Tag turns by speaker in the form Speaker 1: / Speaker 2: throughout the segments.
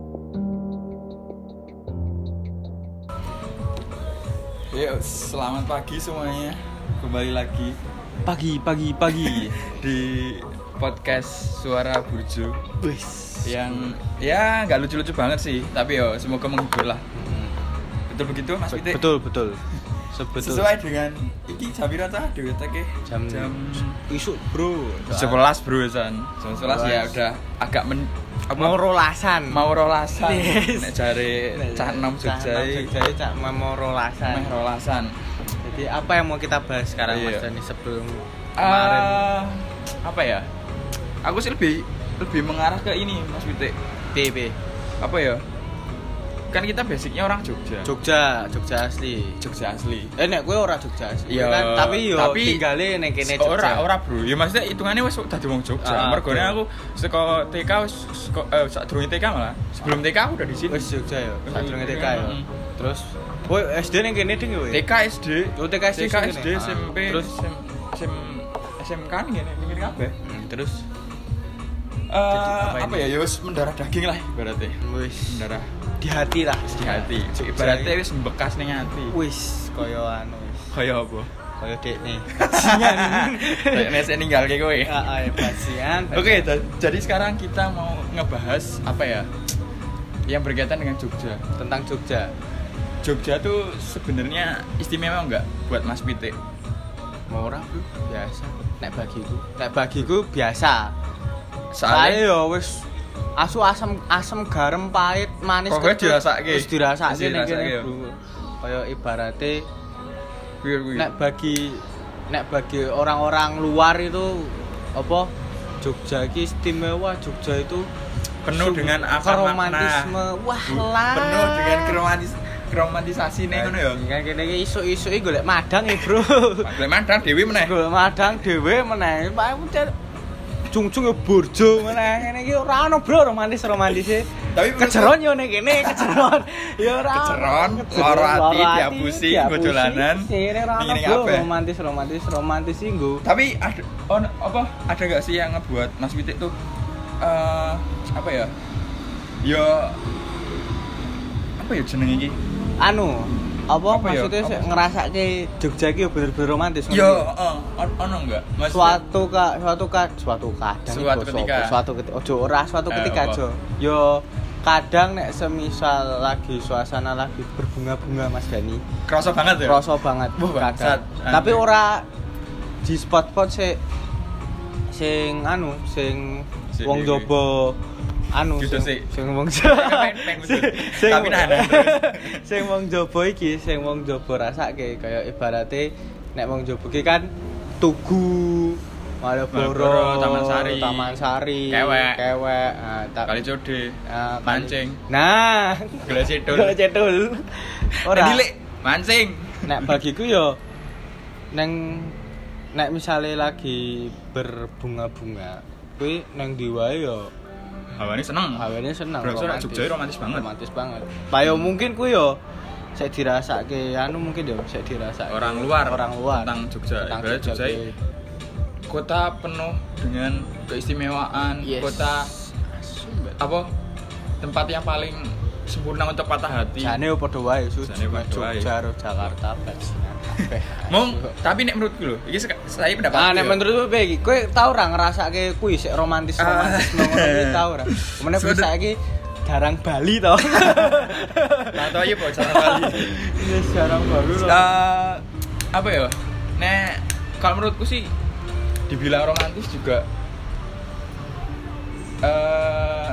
Speaker 1: Yuk, Iya, selamat pagi semuanya. Kembali lagi
Speaker 2: Pagi, pagi, pagi.
Speaker 1: di podcast Suara Burjo
Speaker 2: Wis.
Speaker 1: yang ya nggak lucu-lucu banget sih, tapi yo semoga menghibur lah. Hmm. Betul begitu Mas Pitik?
Speaker 2: Betul, betul. Sebetul.
Speaker 1: Sesuai dengan iki jam piro tah dhewe teke?
Speaker 2: jam
Speaker 1: jam
Speaker 2: isuk, Bro.
Speaker 1: 11 bro San. Jam 11 ya
Speaker 2: Sebelas.
Speaker 1: udah agak men apa,
Speaker 2: mau rolasan.
Speaker 1: mau rolasan
Speaker 2: Yes.
Speaker 1: nek jare Cak Nom Jogja
Speaker 2: Cak Nom
Speaker 1: iki,
Speaker 2: Jogja, Cak mau rolasan.
Speaker 1: meh rolasan.
Speaker 2: Jadi apa yang mau kita bahas sekarang
Speaker 1: Iya.
Speaker 2: Mas Dani sebelum kemarin?
Speaker 1: Ah, apa ya? Aku sih lebih lebih mengarah ke ini Mas Pitik.
Speaker 2: PP
Speaker 1: apa ya kan kita basicnya orang Jogja
Speaker 2: Jogja, Jogja asli.
Speaker 1: Jogja asli
Speaker 2: Eh nek gue ora Jogja asli.
Speaker 1: Iya,
Speaker 2: Kan, tapi yo
Speaker 1: tapi-
Speaker 2: tinggalnya ning kene Jogja.
Speaker 1: ora ora bro ya maksudnya hitungannya wes dadi wong Jogja
Speaker 2: Ah,
Speaker 1: mergone
Speaker 2: betul.
Speaker 1: aku seko TK wes seko eh sadurunge TK malah sebelum TK aku udah di sini
Speaker 2: Wis Jogja yo.
Speaker 1: Wis
Speaker 2: Sadurunge
Speaker 1: Jogja,
Speaker 2: TK yo.
Speaker 1: mm.
Speaker 2: Terus Woi, SD ning kene ding yo. weh?
Speaker 1: TK SD
Speaker 2: Oh, TK SD,
Speaker 1: TK SD
Speaker 2: sini.
Speaker 1: SMP
Speaker 2: Ah,
Speaker 1: terus
Speaker 2: terus?
Speaker 1: SMK nih ngene ngene kabeh
Speaker 2: Hmm, terus
Speaker 1: Eh,
Speaker 2: apa
Speaker 1: apa
Speaker 2: ini?
Speaker 1: ya ya wes mendarah daging lah ibaratnya
Speaker 2: wis
Speaker 1: mendarah
Speaker 2: di hati lah
Speaker 1: di hati ibaratnya wis bekas ning ati
Speaker 2: wis koyo anu wis
Speaker 1: kaya apa
Speaker 2: koyo dekne
Speaker 1: kayak nek ninggalke kowe
Speaker 2: heeh ya pasian
Speaker 1: Oke, da- jadi sekarang kita mau ngebahas apa ya? Yang berkaitan dengan Jogja.
Speaker 2: tentang Jogja
Speaker 1: Jogja tuh sebenarnya istimewa nggak buat Mas Pitik?
Speaker 2: mau ora Bu? biasa nek bagiku nek bagiku biasa
Speaker 1: Soalnya
Speaker 2: saya yo wis asu asam asam garam pahit manis
Speaker 1: Pokoknya
Speaker 2: kecut,
Speaker 1: dirasake.
Speaker 2: wis dirasake
Speaker 1: Wis
Speaker 2: ning
Speaker 1: dirasake,
Speaker 2: kene
Speaker 1: yo.
Speaker 2: bro koyo ibarate
Speaker 1: Kuwi, kuwi.
Speaker 2: nek bagi nek bagi orang-orang luar itu apa Jogja iki istimewa Jogja itu
Speaker 1: penuh
Speaker 2: sungguh
Speaker 1: dengan akar
Speaker 2: keromantisme wah lah
Speaker 1: Penuh dengan keromantis keromantisasi nih ngono ya.
Speaker 2: kan kene iki isuk-isuk iki golek madang ya bro
Speaker 1: Maklum Madang Dewi meneh.
Speaker 2: golek madang dhewe meneh Pak aku cari- jung-jung ya burjo meneh kene iki ora ono bro e. romantis romantis
Speaker 1: Tapi menurut-
Speaker 2: kejeron yo ning kene kejeron ya ora ono.
Speaker 1: Keceron, loro ati, diapusi, nggo dolanan.
Speaker 2: sire ora ono
Speaker 1: Ngene
Speaker 2: bro
Speaker 1: kabeh.
Speaker 2: romantis romantis romantis sih nggo
Speaker 1: Tapi ada on, apa ada nggak sih yang ngebuat Mas Pitik tuh eh apa ya? Ya apa ya jeneng iki?
Speaker 2: anu apa,
Speaker 1: Apa ya?
Speaker 2: maksudnya
Speaker 1: Apa
Speaker 2: sih
Speaker 1: sih?
Speaker 2: ngerasake Jogja iki bener-bener romantis
Speaker 1: Yo,
Speaker 2: ngerti?
Speaker 1: heeh, on- ono enggak?
Speaker 2: suatu ka suatu ka suatu kadang
Speaker 1: Suatu
Speaker 2: iku
Speaker 1: ketika.
Speaker 2: sopo, suatu ketika ojo ora suatu
Speaker 1: Eh,
Speaker 2: ketika
Speaker 1: apa?
Speaker 2: jo yo kadang nek semisal lagi suasana lagi berbunga-bunga Mas Dani
Speaker 1: kerasa banget ya?
Speaker 2: rasa banget
Speaker 1: Wah, bangsat.
Speaker 2: kadang tapi ora di spot-spot sik sing anu sing
Speaker 1: Sik,
Speaker 2: wong
Speaker 1: iki.
Speaker 2: jaba anu
Speaker 1: Gitu, sik.
Speaker 2: sing sing wong
Speaker 1: Pengen- pengen
Speaker 2: sing
Speaker 1: gitu. Tapi nahan, terus.
Speaker 2: sing wong jaba iki sing wong jaba rasake kaya ibarate nek wong jaba iki kan tugu
Speaker 1: Malioboro,
Speaker 2: Malioboro,
Speaker 1: Taman Sari.
Speaker 2: Taman Sari,
Speaker 1: Kewek.
Speaker 2: kewek, ah, tak-
Speaker 1: kali code
Speaker 2: ah, kali-
Speaker 1: mancing
Speaker 2: Nah,
Speaker 1: gelas itu
Speaker 2: Golek cedul. Ora.
Speaker 1: Dilek, mancing
Speaker 2: nek bagiku yo neng nek misalnya lagi berbunga-bunga kuwi neng diwae yo
Speaker 1: hawanya seneng
Speaker 2: awalnya seneng
Speaker 1: Berasa Hmm. nek Jogja romantis banget.
Speaker 2: romantis banget payo mungkin kuwi yo saya dirasake anu mungkin yo saya dirasake
Speaker 1: Orang luar.
Speaker 2: orang luar
Speaker 1: Tentang Jogja.
Speaker 2: tentang
Speaker 1: Ibarat Jogja
Speaker 2: Jogja, kuwi.
Speaker 1: kota penuh dengan keistimewaan
Speaker 2: Yes.
Speaker 1: kota apa tempat yang paling sempurna untuk patah hati
Speaker 2: jane yo padha wae su-
Speaker 1: Jane padha wae.
Speaker 2: Jogja karo Jakarta bajingan kabeh.
Speaker 1: Mong, tapi nek menurutku loh, ini seka- saya pendapat. ya.
Speaker 2: Ah, nek menurutmu piye iki? Kowe tau ora ngrasake kuwi sik romantis-romantis
Speaker 1: Ah.
Speaker 2: ngono kuwi tau ora? Mene kuwi
Speaker 1: Sebener-
Speaker 2: saiki garang Bali to.
Speaker 1: tahu aja bocor Bali.
Speaker 2: Wis garang baru lho.
Speaker 1: Eh, apa ya? Nek kalau menurutku sih dibilang romantis juga eh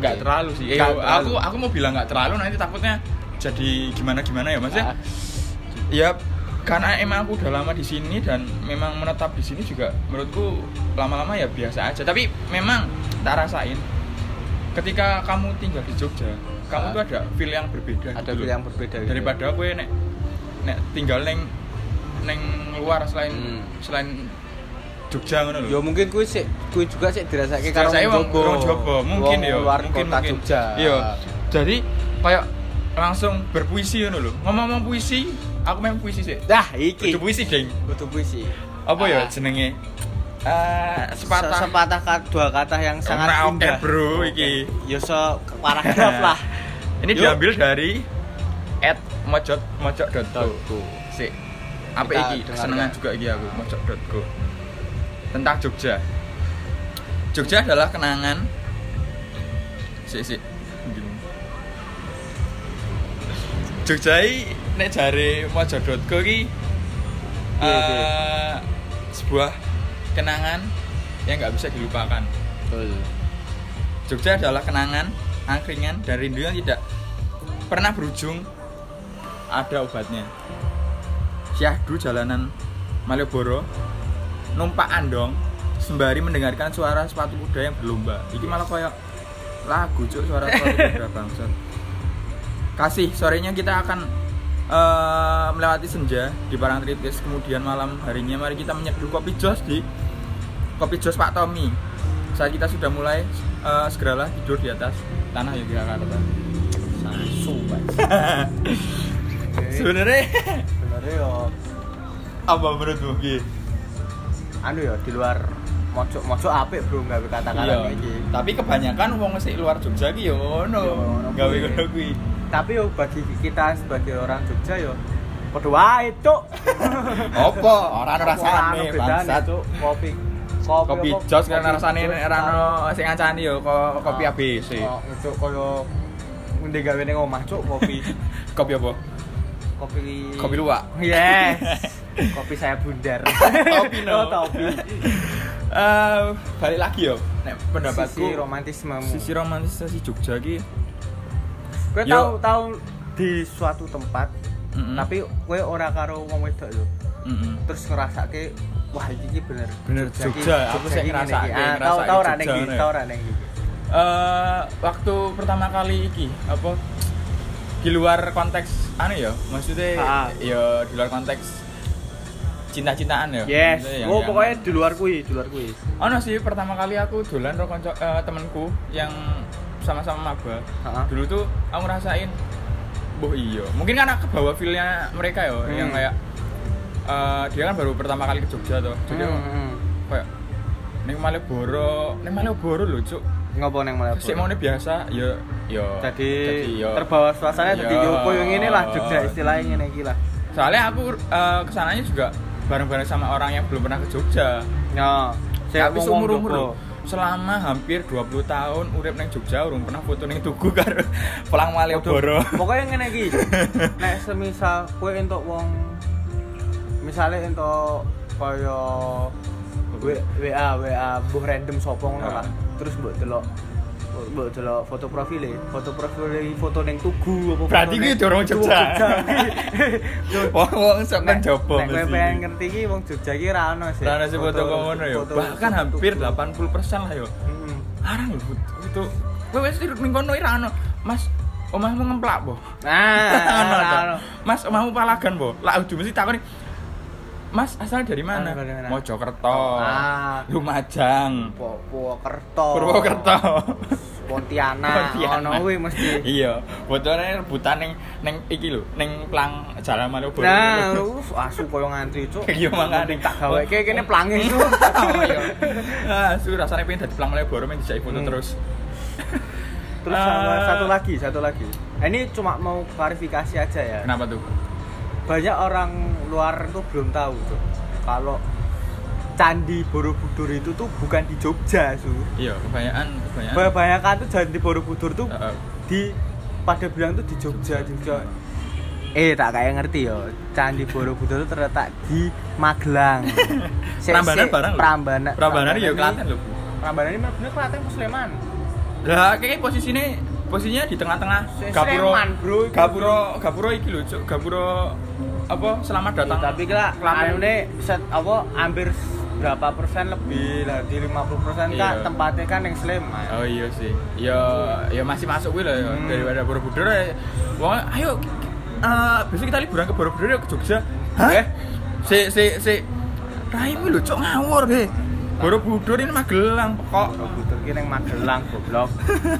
Speaker 1: nggak
Speaker 2: Oke.
Speaker 1: terlalu sih. Eh,
Speaker 2: Iya. Nggak
Speaker 1: aku
Speaker 2: terlalu.
Speaker 1: aku mau bilang nggak terlalu nanti takutnya jadi gimana gimana ya maksudnya.
Speaker 2: Ah.
Speaker 1: Ya karena emang aku udah lama di sini dan memang menetap di sini juga menurutku lama-lama ya biasa aja. Tapi memang tak rasain ketika kamu tinggal di Jogja, kamu
Speaker 2: Ah.
Speaker 1: tuh ada feel yang berbeda.
Speaker 2: Ada
Speaker 1: gitu
Speaker 2: feel
Speaker 1: loh
Speaker 2: yang berbeda gitu.
Speaker 1: daripada gue nek nek tinggal neng neng luar selain
Speaker 2: Hmm.
Speaker 1: selain Jogja ngono lho.
Speaker 2: Yo mungkin kuwi sik kuwi juga sik dirasake karo
Speaker 1: Saya wong
Speaker 2: wong
Speaker 1: wong Jobo, mungkin
Speaker 2: Wong
Speaker 1: ya,
Speaker 2: Luar
Speaker 1: mungkin
Speaker 2: kota
Speaker 1: mungkin.
Speaker 2: Jogja.
Speaker 1: Iya. Jadi kayak langsung berpuisi ngono lho. Ngomong-ngomong puisi, aku main puisi sih.
Speaker 2: Dah iki.
Speaker 1: Kudu puisi, Ding.
Speaker 2: Kudu puisi.
Speaker 1: Apa ya
Speaker 2: Ah.
Speaker 1: jenenge? Eh, sepatah
Speaker 2: Sepatah, sepatah ka- dua kata yang sangat
Speaker 1: Ora oke,
Speaker 2: indah.
Speaker 1: bro, iki.
Speaker 2: Yo se paragraf lah.
Speaker 1: Ini
Speaker 2: Yuk.
Speaker 1: diambil dari at mojot mojot.co
Speaker 2: Tuh.
Speaker 1: sik apa
Speaker 2: Kita
Speaker 1: iki
Speaker 2: dengarkan.
Speaker 1: senengan juga iki aku mojok.go tentang Jogja Jogja adalah kenangan sik sik Gini. Jogja iki nek jare mojok.go iki
Speaker 2: Iya,
Speaker 1: eh,
Speaker 2: iya.
Speaker 1: sebuah kenangan yang nggak bisa dilupakan
Speaker 2: Betul.
Speaker 1: Jogja adalah kenangan angkringan dan rindu yang tidak pernah berujung ada obatnya syahdu jalanan Malioboro numpak andong sembari mendengarkan suara sepatu kuda yang berlomba ini malah kayak lagu cuk suara sepatu kuda bangsat kasih sorenya kita akan eh, melewati senja di Parangtritis kemudian malam harinya mari kita menyeduh kopi jos di kopi jos Pak Tommy saat kita sudah mulai eh, segeralah tidur di atas tanah Yogyakarta
Speaker 2: Sasu, Pak.
Speaker 1: sebenarnya
Speaker 2: Sebenarnya yo
Speaker 1: apa menurutmu Ki?
Speaker 2: anu ya di luar mojok-mojok apik, Bro, gawe
Speaker 1: Iya.
Speaker 2: kata-kata iki.
Speaker 1: tapi kebanyakan wong sing luar Jogja ki yo Iya,
Speaker 2: Yo,
Speaker 1: ngono
Speaker 2: ngono
Speaker 1: gawe
Speaker 2: kuwi.
Speaker 1: ngono kuwi
Speaker 2: Tapi yo bagi kita sebagai orang Jogja yo padha wae, Cuk.
Speaker 1: opo ora ono rasane
Speaker 2: Ora ono bedane,
Speaker 1: bangsat
Speaker 2: Cuk. Kopi kopi
Speaker 1: anu kopi
Speaker 2: apa?
Speaker 1: jos karena
Speaker 2: Kopi
Speaker 1: rasane
Speaker 2: jos,
Speaker 1: ora ono sing ngancani yo ko- kopi
Speaker 2: Ah.
Speaker 1: ABC
Speaker 2: Oh, Cuk, koyo ngendi gawe ning omah, Cuk, kopi.
Speaker 1: kopi apa
Speaker 2: Kopi
Speaker 1: kopi luwak
Speaker 2: Yes. kopi saya bundar.
Speaker 1: Topi, no.
Speaker 2: Oh, topi.
Speaker 1: Eh, balik lagi yo nek pendapatku
Speaker 2: Sisi romantismemu.
Speaker 1: sisi romantis sisi Jogja ki
Speaker 2: Kowe
Speaker 1: Yo.
Speaker 2: tahu tahu di suatu tempat,
Speaker 1: Mm-mm.
Speaker 2: tapi kowe ora karo wong wedok lho.
Speaker 1: Mm-mm.
Speaker 2: Terus ngerasake wah iki ki bener.
Speaker 1: Bener,
Speaker 2: ki-
Speaker 1: Jogja. Aku sih
Speaker 2: ki ngene
Speaker 1: ngerasake,
Speaker 2: iki. Ah,
Speaker 1: ngerasake
Speaker 2: Tahu tahu ora
Speaker 1: Jogja
Speaker 2: ning iki,
Speaker 1: ngene.
Speaker 2: tahu ora ning iki.
Speaker 1: Eh, waktu pertama kali iki apa di luar konteks anu ya maksudnya
Speaker 2: Ah.
Speaker 1: ya di luar konteks cinta-cintaan ya
Speaker 2: Yes.
Speaker 1: Maksudnya yang-
Speaker 2: Oh,
Speaker 1: yang-
Speaker 2: pokoknya di luar kuwi, di luar kuwi.
Speaker 1: ono sih pertama kali aku dolan karo kanca eh, temenku yang sama-sama maba
Speaker 2: Heeh.
Speaker 1: dulu tuh aku ngerasain boh iya mungkin karena kebawa feelnya mereka ya
Speaker 2: Hmm.
Speaker 1: yang kayak eh, dia kan baru pertama kali ke Jogja tuh jadi
Speaker 2: Hmm.
Speaker 1: kayak neng Malioboro neng Malioboro lho cuk
Speaker 2: Ngopo ning Malioboro?
Speaker 1: sik maunya biasa ya ya
Speaker 2: Jadi
Speaker 1: ya.
Speaker 2: terbawa suasana jadi
Speaker 1: Iya.
Speaker 2: yo koyo ngene lah Jogja istilahnya ngene iki lah.
Speaker 1: soalnya aku eh, kesananya juga bareng-bareng sama orang yang belum pernah ke Jogja
Speaker 2: Yo.
Speaker 1: tapi seumur umur selama hampir 20 tahun urip neng Jogja urung pernah foto neng Tugu karo Pelang Malioboro.
Speaker 2: Pokoknya ngene iki. Nek semisal kowe entuk wong misale entuk kaya W- WA WA mbuh random sapa ngono
Speaker 1: Ah.
Speaker 2: lah. Terus mbok delok mbok delok foto profile, foto profile foto ning tugu apa foto
Speaker 1: Berarti
Speaker 2: ning-
Speaker 1: iki dorong Jogja.
Speaker 2: Yo,
Speaker 1: Wong-wong sok
Speaker 2: nek-
Speaker 1: kan jopo
Speaker 2: Nek kowe pengen ngerti iki wong Jogja iki ra ono sih.
Speaker 1: Karena sih foto kok ngono ya.
Speaker 2: foto
Speaker 1: Bahkan
Speaker 2: tugu.
Speaker 1: hampir 80% lah yo.
Speaker 2: Mm-mm.
Speaker 1: Arang lho itu. Kowe wis tiru ning kono ora ono. Mas, omahmu ngemplak boh.
Speaker 2: Ah,
Speaker 1: Ono
Speaker 2: ra
Speaker 1: ta?
Speaker 2: ono.
Speaker 1: Mas, omahmu palagan boh. Lah udah mesti takoni. Mas, asal dari mana?
Speaker 2: Asal dari mana?
Speaker 1: Mojokerto.
Speaker 2: Ah.
Speaker 1: Lumajang.
Speaker 2: Purwokerto.
Speaker 1: Purwokerto.
Speaker 2: Pontianak. Ono kuwi mesti.
Speaker 1: iya botolnya rebutan neng neng iki lho neng plang jalan Malioboro
Speaker 2: Nah, uff, asu koyo ngantri, Cuk.
Speaker 1: Iya, makanya. Oh.
Speaker 2: tak gaweke kene plange, Cuk.
Speaker 1: ah su rasanya pengen jadi plang Malioboro main dijai foto
Speaker 2: Hmm.
Speaker 1: terus
Speaker 2: Terus sama
Speaker 1: Ah.
Speaker 2: satu lagi, satu lagi. Eh, Ini cuma mau klarifikasi aja ya.
Speaker 1: kenapa tuh
Speaker 2: Banyak orang luar tuh belum tahu, Cuk. Kalau Candi Borobudur itu tuh bukan di Jogja, Su.
Speaker 1: iya kebanyakan kebanyakan
Speaker 2: Kebanyakan tuh Candi Borobudur tuh
Speaker 1: Heeh.
Speaker 2: di pada bilang tuh di Jogja Jogja eh tak kayak ngerti yo Candi Borobudur itu terletak di Magelang Sik-
Speaker 1: Prambanan
Speaker 2: sik,
Speaker 1: barang lho.
Speaker 2: Prambanan
Speaker 1: Prambanan iya Klaten lho Bu.
Speaker 2: Prambanan ini bener Klaten ke Sleman
Speaker 1: lah kayaknya posisinya posisinya di tengah-tengah
Speaker 2: Se-
Speaker 1: gapuro
Speaker 2: Sleman, bro, iku.
Speaker 1: gapuro gapuro iki lho cuk gapuro apa selamat
Speaker 2: Ya,
Speaker 1: datang
Speaker 2: tapi kira
Speaker 1: Klaten.
Speaker 2: anu ini set apa hampir berapa persen lebih lah di 50 persen kan
Speaker 1: Iya.
Speaker 2: tempatnya kan yang Sleman
Speaker 1: Oh iya sih. Ya ya masih masuk kuwi lho ya
Speaker 2: Hmm.
Speaker 1: daripada Borobudur. ya. Wong ayo eh besok kita liburan ke Borobudur yuk, ke Jogja. Eh,
Speaker 2: Hah?
Speaker 1: Si si si Raimu lho cok ngawur deh. Borobudur ini Magelang pekok.
Speaker 2: Borobudur ini yang Magelang goblok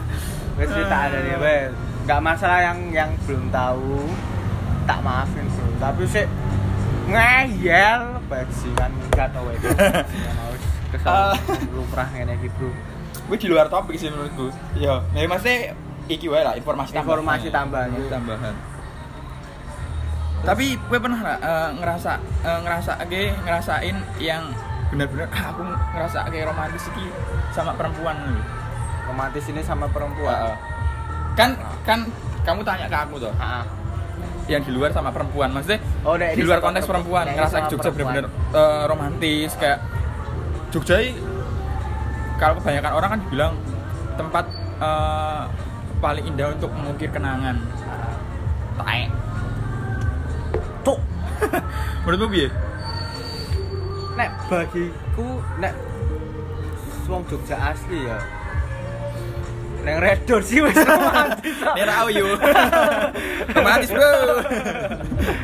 Speaker 2: wes kita
Speaker 1: Ah.
Speaker 2: ada nih wes nggak masalah yang yang belum tahu tak maafin bro tapi sih ngeyel bajingan nggak tahu itu Bajingan aus. kesel
Speaker 1: Ah.
Speaker 2: lumrah ngene iki bro
Speaker 1: Kuwi di luar topik sih menurutku. Ya, nah, maksudnya iki wae lah informasi tambahan.
Speaker 2: Informasi tambahan.
Speaker 1: Informasi tambahan. tapi gue pernah nggak, eh, ngerasa eh, ngerasa ge, ngerasain yang benar-benar "Ah, aku ngerasa kayak romantis iki sama perempuan gitu.
Speaker 2: romantis ini sama
Speaker 1: Wah.
Speaker 2: perempuan
Speaker 1: kan kan kamu tanya ke aku tuh
Speaker 2: Heeh.
Speaker 1: yang di luar sama perempuan maksudnya
Speaker 2: Oh, nek
Speaker 1: di
Speaker 2: ini
Speaker 1: luar
Speaker 2: sama
Speaker 1: konteks
Speaker 2: perempuan.
Speaker 1: perempuan
Speaker 2: Nek ini
Speaker 1: ngerasa
Speaker 2: sama
Speaker 1: Jogja
Speaker 2: perempuan.
Speaker 1: benar-benar eh, romantis kayak Jogja i- kalau kebanyakan orang kan bilang tempat eh, paling indah untuk mengukir kenangan taek
Speaker 2: Cuk.
Speaker 1: menurutmu piye
Speaker 2: nek bagiku nek wong Jogja asli ya Neng redor sih wis romantis.
Speaker 1: Nera Ayu romantis bro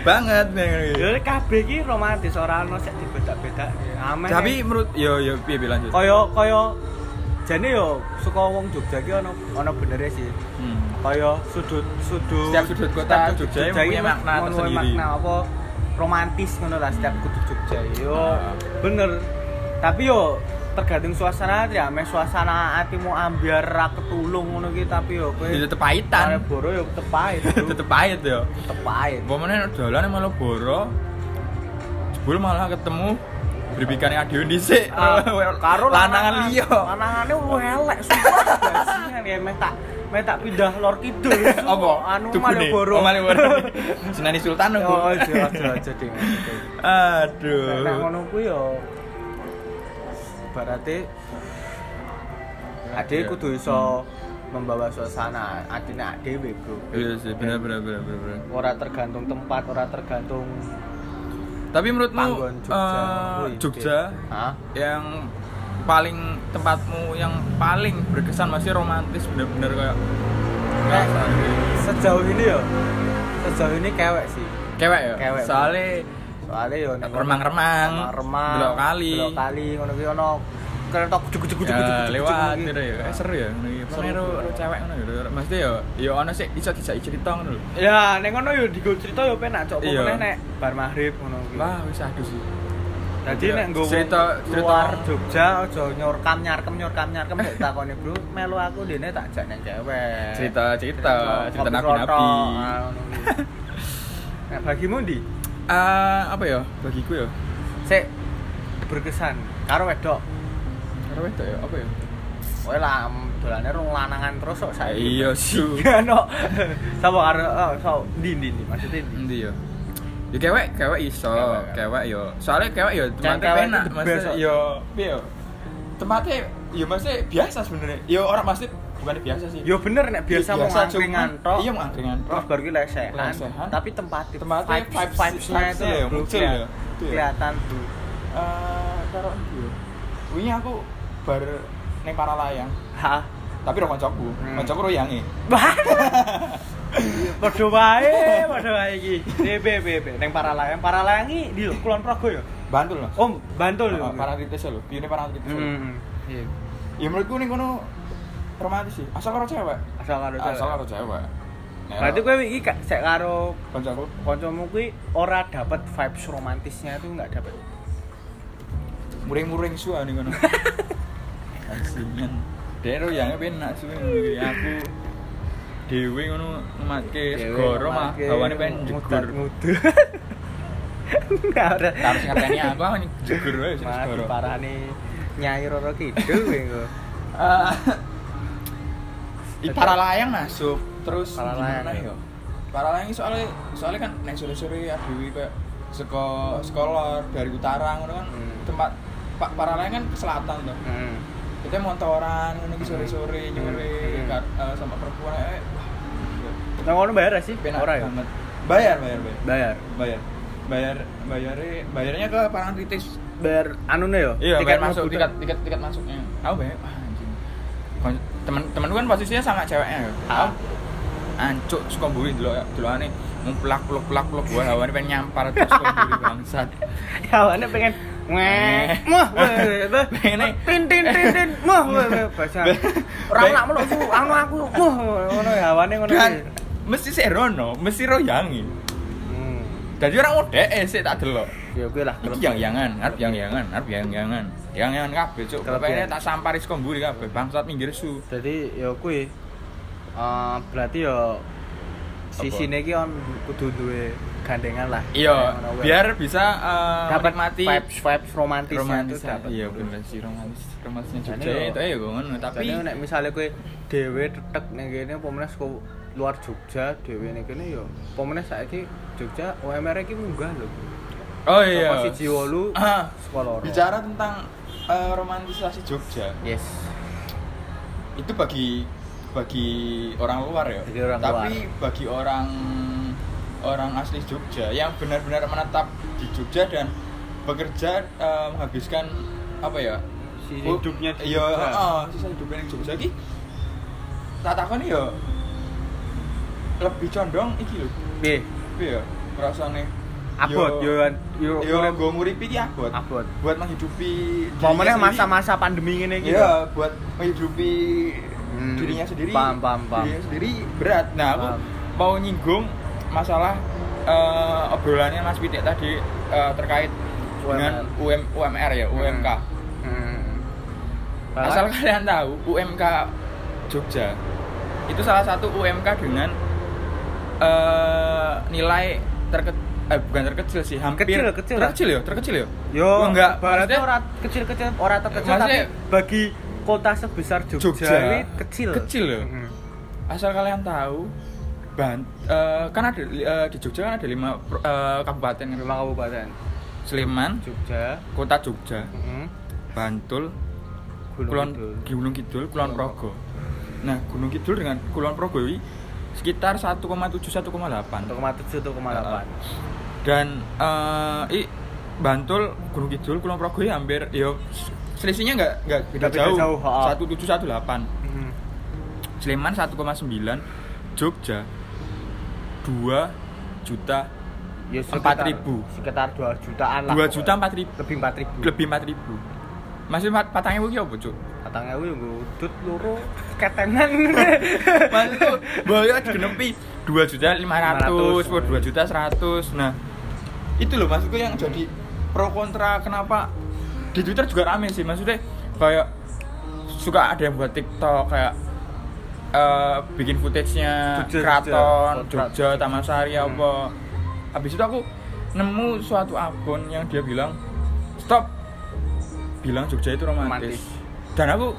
Speaker 1: banget nih
Speaker 2: Ya kabeh iki romantis ora ono sing dibedak-bedak. Ameh.
Speaker 1: tapi menurut yo yo piye piye, lanjut
Speaker 2: kaya kaya jane yo saka wong Jogja iki ono ono benere sih.
Speaker 1: Hmm.
Speaker 2: Kaya sudut sudut
Speaker 1: Setiap sudut kota Jogja mempunyai
Speaker 2: iki
Speaker 1: makna
Speaker 2: menuai
Speaker 1: tersendiri.
Speaker 2: Makna apa romantis ngono lah setiap kota Jogja yo.
Speaker 1: Ah.
Speaker 2: Bener. Tapi yo tergantung suasana hati ya, meh suasana hatimu ambiar ra ketulung ngono ki tapi yo kowe
Speaker 1: Jadi tetep pahitan
Speaker 2: Malioboro yo tetep pahit. bro.
Speaker 1: tetep pahit yo
Speaker 2: tetep pahit.
Speaker 1: Umpamanya nek dolan malah boro. Jebul malah ketemu berbikane adewe dhisik.
Speaker 2: Ah, karo
Speaker 1: lanangan liya.
Speaker 2: Lanangane lu elek sumpah. Bajingan ya meh tak meh tak pindah lor kidul. sumpah.
Speaker 1: Apa?
Speaker 2: Anu
Speaker 1: Tugu nih?
Speaker 2: Malioboro.
Speaker 1: Oh, Malioboro. Senani Sultan aku.
Speaker 2: Yo aja aja aja ding.
Speaker 1: Aduh.
Speaker 2: Nek ngono kuwi yo ibarate ade kudu iso membawa suasana adine dhewe, Bro.
Speaker 1: Iya sih, bener bener bener bener. bener.
Speaker 2: Ora tergantung tempat, ora tergantung
Speaker 1: Tapi menurutmu
Speaker 2: panggon Jogja.
Speaker 1: eh,
Speaker 2: Wih,
Speaker 1: Jogja
Speaker 2: deh. Hah?
Speaker 1: yang paling tempatmu yang paling berkesan masih romantis bener-bener kayak
Speaker 2: Kayak- Sejauh ini yo sejauh ini kewek sih.
Speaker 1: kewek ya
Speaker 2: Kewek.
Speaker 1: soalnya
Speaker 2: soalnya yo nek
Speaker 1: remang-remang
Speaker 2: remang
Speaker 1: belok kali
Speaker 2: belok kali ngono kuwi ono kereta kucuk kucuk kucuk kucuk
Speaker 1: ya, lewat gitu ya eh, seru ya ngono iki. Pokoknya
Speaker 2: Seru.
Speaker 1: ro ro cewek ngono ya ro- maksudnya ya ya ono sih iso dijak cerita ngono lho
Speaker 2: ya nek ngono yo digo cerita yo penak cok
Speaker 1: Iya.
Speaker 2: pokoknya nek bar maghrib ngono kuwi
Speaker 1: wah wis aduh sih
Speaker 2: dadi
Speaker 1: iya.
Speaker 2: nek nggo
Speaker 1: Cerita- cerita-
Speaker 2: luar Jogja aja nyorkam nyarkem nyorkam nyarkem tak takoni bro melu aku dene tak jak nang cewek
Speaker 1: Cerita- cerita, cerita
Speaker 2: ngopi
Speaker 1: nabi-nabi.
Speaker 2: rotok, ah, ngono kuwi. Nek bagimu ndi
Speaker 1: Eh, apa ya bagiku ya
Speaker 2: sik berkesan karo wedok
Speaker 1: karo wedok ya apa ya
Speaker 2: Kowe lah mm, dolane rung lanangan terus kok saiki.
Speaker 1: iya su
Speaker 2: Gak no. Sapa karo oh, so ndi ndi ndi maksudnya ndi.
Speaker 1: Endi ya Ya kewek, kewek iso,
Speaker 2: Kewek, kewek.
Speaker 1: kewek yo. Soalnya kewek yo tempatnya
Speaker 2: kewek
Speaker 1: penak,
Speaker 2: itu the
Speaker 1: maksudnya ya,
Speaker 2: best,
Speaker 1: yo piye yo. Tempatnya yo ya maksudnya biasa sebenarnya. Yo orang pasti bukan biasa sih.
Speaker 2: Yo bener nek Ya, biasa mau ngangkringan
Speaker 1: cuman-
Speaker 2: tok.
Speaker 1: Iya mau angkringan tok.
Speaker 2: Terus baru ki lesehan,
Speaker 1: Lesehan.
Speaker 2: tapi tempatnya
Speaker 1: Tempatnya vibes-
Speaker 2: vibes-nya itu
Speaker 1: vibes-nya ya,
Speaker 2: loh, bro,
Speaker 1: muncul
Speaker 2: keliat-
Speaker 1: ya. Itu ya.
Speaker 2: Kelihatan tuh.
Speaker 1: Eh, karo ndi yo. Wingi aku bar ning para layang,
Speaker 2: Hah.
Speaker 1: tapi ro kancaku.
Speaker 2: Hmm.
Speaker 1: Kancaku ro yange.
Speaker 2: Wah. Padha wae, padha wae iki. DB BB ning para layang, para layang iki di lho, Kulon Progo ya.
Speaker 1: Bantul lho.
Speaker 2: Om, Bantul
Speaker 1: Heeh,
Speaker 2: yo.
Speaker 1: Parangtritis lho, biyen Parangtritis. lho.
Speaker 2: Heeh. Iya.
Speaker 1: Ya menurutku ning kono romantis sih. Asal karo cewek.
Speaker 2: Asal karo cewek.
Speaker 1: Asal karo cewek. Ya. Nek
Speaker 2: Berarti kowe iki gak- sek karo
Speaker 1: kancaku
Speaker 2: koncomu kuwi ora dapat vibes romantisnya itu nggak dapat
Speaker 1: muring-muring suwe ning kono. Asingan. Dero yang penak suwe ngene aku dhewe ngono ngemake segoro mah bawane ah. pengen jegur.
Speaker 2: ngudur ora
Speaker 1: Harus ngerteni aku aku nih jegur wae sing
Speaker 2: malah
Speaker 1: segoro.
Speaker 2: diparani nyai roro kidul kuwi engko
Speaker 1: Eh, i para layang masuk terus
Speaker 2: Para layang,
Speaker 1: gimana
Speaker 2: ya.
Speaker 1: ya? Para layang ini soalnya soalnya kan nek sore-sore adewe kayak seko sekolah dari utara ngono kan
Speaker 2: Hmm.
Speaker 1: tempat Pak para layang kan ke selatan tuh.
Speaker 2: hmm.
Speaker 1: kita montoran ngono iki sore-sore nyore
Speaker 2: Hmm.
Speaker 1: kar- eh, sama perempuan eh wah, gila.
Speaker 2: nah ngono bayar nggak sih
Speaker 1: penak
Speaker 2: ora ya
Speaker 1: banget bayar bayar bayar
Speaker 2: bayar
Speaker 1: bayar bayar bayarnya bayarnya ke Parangtritis
Speaker 2: bayar anune yo
Speaker 1: iya
Speaker 2: tiket
Speaker 1: bayar masuk
Speaker 2: mabuk.
Speaker 1: tiket tiket tiket masuknya aku bayar wah anjing Kon- temen temen kan posisinya sama ceweknya ya
Speaker 2: Ah.
Speaker 1: Aku ancuk suka buri dulu ya dulu ane ngumpulak peluk pelak peluk gue hawa pengen nyampar terus suka buri bangsat
Speaker 2: ya awalnya pengen Weh, mah, weh, weh,
Speaker 1: Pengen-
Speaker 2: tin tin tin tin, mah, weh, weh, bahasa. Orang nak melok aku, anu aku, mah, ngono ya, awalnya ngono.
Speaker 1: dan
Speaker 2: kuwi.
Speaker 1: mesti serono mesti royangi
Speaker 2: Hmm.
Speaker 1: jadi orang udah eh sih tak delok
Speaker 2: Ya kuwi lah,
Speaker 1: Iki yang yangan, arep yang yangan, arep yang yangan. Yang yangan kabeh, Cuk.
Speaker 2: Kelebih.
Speaker 1: Bapaknya tak sampari saka mburi kabeh, bangsat minggir su.
Speaker 2: jadi ya kui eh berarti ya sisi ini on kudu duwe gandengan lah
Speaker 1: Iya,
Speaker 2: Yang ono wae.
Speaker 1: biar bisa eh,
Speaker 2: dapat mati
Speaker 1: menikmati
Speaker 2: vibes vibes romantis
Speaker 1: romantis
Speaker 2: itu dapat
Speaker 1: iya bener sih romantis romantisnya
Speaker 2: Jane
Speaker 1: Jogja
Speaker 2: yo-
Speaker 1: itu ya gue ngono tapi
Speaker 2: tapi nek misalnya kowe dhewe tetek ning kene pemenes ke luar Jogja dhewe ning kene ya pemenes saiki Jogja OMR iki munggah lho
Speaker 1: oh iya
Speaker 2: Saka siji wolu
Speaker 1: Ah,
Speaker 2: sekolah loro.
Speaker 1: bicara tentang eh, romantisasi Jogja
Speaker 2: yes
Speaker 1: itu bagi bagi orang luar ya
Speaker 2: Bagi orang
Speaker 1: tapi bagi orang orang asli Jogja yang benar-benar menetap di Jogja dan bekerja eh, menghabiskan apa ya
Speaker 2: Sisa
Speaker 1: Oh,
Speaker 2: hidupnya di
Speaker 1: iya
Speaker 2: Jogja.
Speaker 1: heeh, sisa hidupnya di Jogja iki tak takoni ya lebih condong iki lho
Speaker 2: piye
Speaker 1: piye ya rasane
Speaker 2: abot yo kan. yo
Speaker 1: yo nggo nguripi iki abot
Speaker 2: Abot.
Speaker 1: buat menghidupi dirinya
Speaker 2: momennya
Speaker 1: sendiri.
Speaker 2: masa-masa pandemi ngene iki lho.
Speaker 1: Iya, buat menghidupi
Speaker 2: Hmm,
Speaker 1: dirinya sendiri.
Speaker 2: paham, paham, paham.
Speaker 1: Dirinya sendiri berat. Nah, aku
Speaker 2: Paham.
Speaker 1: mau nyinggung masalah eh, obrolannya Mas Pitik tadi eh, terkait dengan UM, UMR ya, UMK.
Speaker 2: Hmm.
Speaker 1: Asal kalian tahu, UMK Jogja itu salah satu UMK dengan eh, nilai terkecil eh, bukan terkecil sih, hampir
Speaker 2: Kecil, kecil lah.
Speaker 1: terkecil ya, terkecil ya.
Speaker 2: Yo,
Speaker 1: enggak,
Speaker 2: berarti
Speaker 1: maksudnya-
Speaker 2: orang kecil-kecil, orang terkecil tapi
Speaker 1: Maksudnya-
Speaker 2: bagi kota sebesar Jogja,
Speaker 1: Jogja.
Speaker 2: ini kecil.
Speaker 1: Kecil iya. loh.
Speaker 2: Mm.
Speaker 1: asal kalian tahu Ban eh, kan ada eh, di Jogja kan ada lima pro- eh, kabupaten kan?
Speaker 2: Lima kabupaten.
Speaker 1: Sleman,
Speaker 2: Jogja,
Speaker 1: Kota Jogja,
Speaker 2: mm,
Speaker 1: Bantul,
Speaker 2: Gunung
Speaker 1: Kulon
Speaker 2: Kidul.
Speaker 1: Gunung Kidul, Kulon
Speaker 2: Kulon
Speaker 1: Progo. Nah, Gunung Kidul dengan Kulon Progo ini sekitar 1,7 1,8.
Speaker 2: 1,7 1,8.
Speaker 1: Dan eh, i Bantul, Gunung Kidul, Kulon Progo ini hampir yo selisihnya nggak nggak beda
Speaker 2: Nggak beda
Speaker 1: jauh.
Speaker 2: jauh, ha.
Speaker 1: 1718.
Speaker 2: Mm.
Speaker 1: Sleman 1,9 Jogja 2 juta
Speaker 2: Ya, sekitar-
Speaker 1: 4.000.
Speaker 2: Sekitar 2 jutaan lah.
Speaker 1: 2 juta
Speaker 2: pokoknya.
Speaker 1: 4 ribu
Speaker 2: lebih 4.000.
Speaker 1: lebih 4 ribu masih pat patangnya gue apa cuk
Speaker 2: Katanya gue yang ya, udut loro ketenan.
Speaker 1: masih tuh bayar digenepi 2 juta 500
Speaker 2: 500.
Speaker 1: 2 juta 100 nah itu loh maksudku yang jadi pro kontra kenapa di Twitter juga rame sih maksudnya kayak suka ada yang buat TikTok kayak eh, bikin footage-nya
Speaker 2: Jogja,
Speaker 1: Keraton,
Speaker 2: Jogja. Hmm.
Speaker 1: Jogja, Taman Sari apa. Habis itu aku nemu suatu akun yang dia bilang stop bilang Jogja itu romantis.
Speaker 2: Romantis.
Speaker 1: Dan aku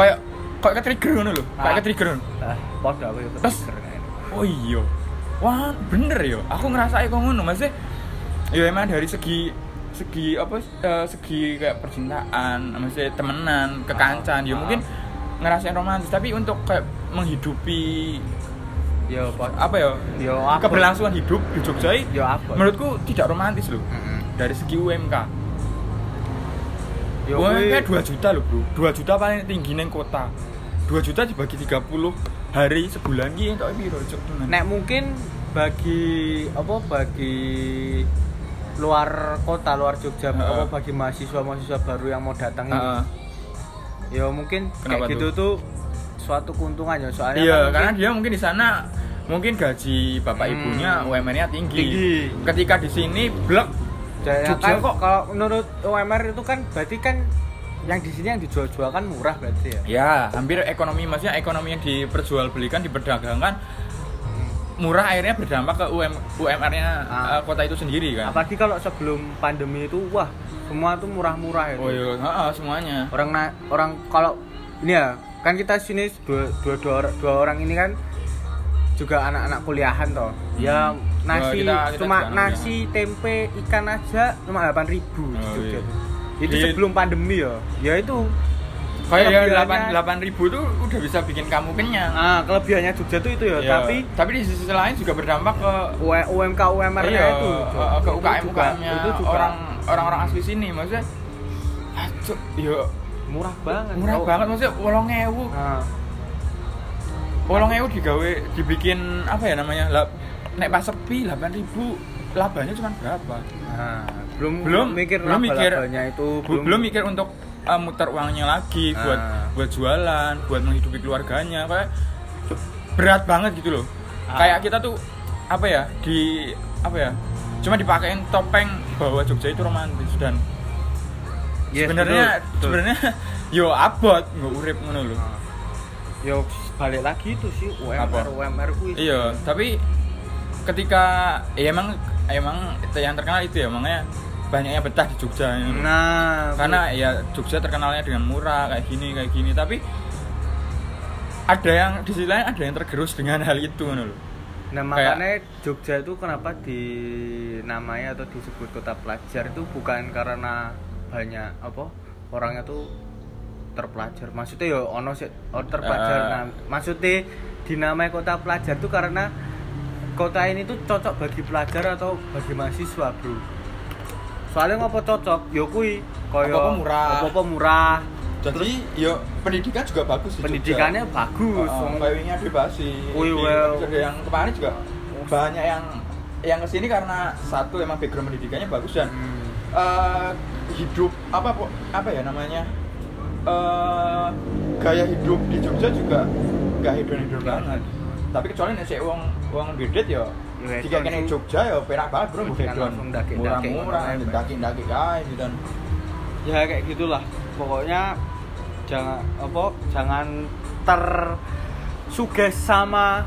Speaker 1: kayak kayak ke-trigger ngono lho, kayak
Speaker 2: Ah.
Speaker 1: ke-trigger ngono.
Speaker 2: Ah, padha aku ya
Speaker 1: Terus? Oh iya. Wah, bener ya. Aku ngerasai kok ngono, Mas. Ya emang dari segi segi apa eh, segi kayak percintaan, maksudnya temenan, kekancan, ya
Speaker 2: Ah.
Speaker 1: mungkin ngerasain romantis, tapi untuk kayak menghidupi
Speaker 2: Yo padha.
Speaker 1: apa ya?
Speaker 2: Yo apa?
Speaker 1: Keberlangsungan hidup di Jogja ini,
Speaker 2: Yo apa?
Speaker 1: menurutku tidak romantis loh.
Speaker 2: Mm-mm.
Speaker 1: Dari segi UMK.
Speaker 2: Yo
Speaker 1: UMK 2
Speaker 2: kuwi-
Speaker 1: juta loh, Bro. 2 juta paling tinggi neng kota. 2 juta dibagi 30 hari sebulan Iya, iki entuk piro, Cuk?
Speaker 2: nek mungkin bagi apa bagi luar kota luar Jogja
Speaker 1: Heeh.
Speaker 2: apa bagi mahasiswa mahasiswa baru yang mau datang ini
Speaker 1: Heeh.
Speaker 2: ya mungkin
Speaker 1: Kenapa
Speaker 2: kayak gitu tuh suatu keuntungan ya soalnya
Speaker 1: Iya,
Speaker 2: kan
Speaker 1: karena
Speaker 2: mungkin-
Speaker 1: dia mungkin di sana mungkin gaji bapak
Speaker 2: Hmm.
Speaker 1: ibunya UMR-nya tinggi.
Speaker 2: Tinggi.
Speaker 1: Ketika di sini blek
Speaker 2: Jaya
Speaker 1: Jogja
Speaker 2: kan
Speaker 1: kok.
Speaker 2: kalau menurut UMR itu kan berarti kan yang di sini yang dijual-jual kan murah berarti ya
Speaker 1: ya hampir ekonomi maksudnya ekonomi yang diperjualbelikan diperdagangkan murah akhirnya berdampak ke UM, UMR-nya
Speaker 2: Ah.
Speaker 1: eh, kota itu sendiri kan.
Speaker 2: apalagi kalau sebelum pandemi itu wah semua tuh murah-murah ya, itu
Speaker 1: Oh iya, heeh, semuanya.
Speaker 2: orang na- orang kalau ini ya kan kita sini dua dua dua, or- dua orang ini kan juga anak-anak kuliahan toh ya
Speaker 1: Hmm.
Speaker 2: nasi
Speaker 1: Oh, kita- kita
Speaker 2: cuma
Speaker 1: juga anak
Speaker 2: nasi tempe ikan aja cuma delapan ribu di
Speaker 1: Oh,
Speaker 2: Jogja
Speaker 1: iya.
Speaker 2: tuh. itu
Speaker 1: Di-
Speaker 2: sebelum pandemi ya ya itu
Speaker 1: Kayak ya
Speaker 2: Kelebihannya-
Speaker 1: 8 ribu tuh udah bisa bikin kamu kenyang.
Speaker 2: ah kelebihannya Jogja tuh itu ya,
Speaker 1: Iya.
Speaker 2: tapi
Speaker 1: tapi di sisi lain juga berdampak ke
Speaker 2: U- UMK UMR nya
Speaker 1: Iya,
Speaker 2: itu
Speaker 1: eh, ke
Speaker 2: itu
Speaker 1: UKM
Speaker 2: juga-
Speaker 1: UKM-nya
Speaker 2: itu juga
Speaker 1: orang orang-orang asli sini maksudnya. iya, Aduh, yo
Speaker 2: murah banget
Speaker 1: murah
Speaker 2: tau.
Speaker 1: banget maksudnya wolong ewu
Speaker 2: Nah,
Speaker 1: wolong ewu digawe dibikin apa ya namanya lab nek pas sepi 8000 labanya cuma berapa
Speaker 2: nah, belum
Speaker 1: Belum-
Speaker 2: mikir
Speaker 1: belum mikir.
Speaker 2: laba-labanya itu
Speaker 1: belum, mikir untuk eh, muter uangnya lagi buat
Speaker 2: Ah.
Speaker 1: buat jualan buat menghidupi keluarganya kayak berat banget gitu loh
Speaker 2: Ah.
Speaker 1: kayak kita tuh apa ya di apa ya cuma dipakein topeng bahwa Jogja itu romantis dan
Speaker 2: Yes,
Speaker 1: sebenarnya
Speaker 2: betul, betul.
Speaker 1: sebenarnya yo abot nggak urip ngono loh
Speaker 2: Nah, yo balik lagi itu sih UMR
Speaker 1: Apa?
Speaker 2: UMR kuwi.
Speaker 1: Iya, tapi ketika ya emang emang itu yang terkenal itu ya makanya banyaknya betah di Jogja. ya.
Speaker 2: Nah,
Speaker 1: Karena ya Jogja terkenalnya dengan murah kayak gini kayak gini, tapi ada yang di sisi lain ada yang tergerus dengan hal itu kan loh.
Speaker 2: Nah
Speaker 1: Kayak-
Speaker 2: makanya Jogja itu kenapa dinamai atau disebut kota pelajar itu bukan karena banyak apa orangnya tuh terpelajar. Maksudnya ya ono sih oh, terpelajar.
Speaker 1: Eh.
Speaker 2: Nah, maksudnya dinamai kota pelajar itu karena kota ini tuh cocok bagi pelajar atau bagi mahasiswa, Bro. Soalnya ngopo cocok? Ya kuwi kaya
Speaker 1: Apa-apa murah.
Speaker 2: Apa-apa murah.
Speaker 1: Jadi yo pendidikan juga bagus di
Speaker 2: Pendidikannya bagus.
Speaker 1: bagus.
Speaker 2: Wong-
Speaker 1: Kayunya bebas sih. Di-
Speaker 2: Wih, well.
Speaker 1: terus ada yang kemarin juga banyak yang yang kesini karena satu emang background pendidikannya bagus dan
Speaker 2: Hmm.
Speaker 1: eh hidup apa po- apa ya namanya eh gaya hidup di Jogja juga gak hedon hedon banget tapi kecuali nek sik wong wong duit ya
Speaker 2: Ya,
Speaker 1: jika
Speaker 2: hedon
Speaker 1: kene
Speaker 2: sih.
Speaker 1: Jogja ya perak banget bro
Speaker 2: Bukan
Speaker 1: hedon
Speaker 2: langsung daki-daki,
Speaker 1: murah-murah
Speaker 2: ngono ae, Pak.
Speaker 1: daki-daki kae gitu dan
Speaker 2: ya kayak gitulah pokoknya jangan apa jangan tersuges sama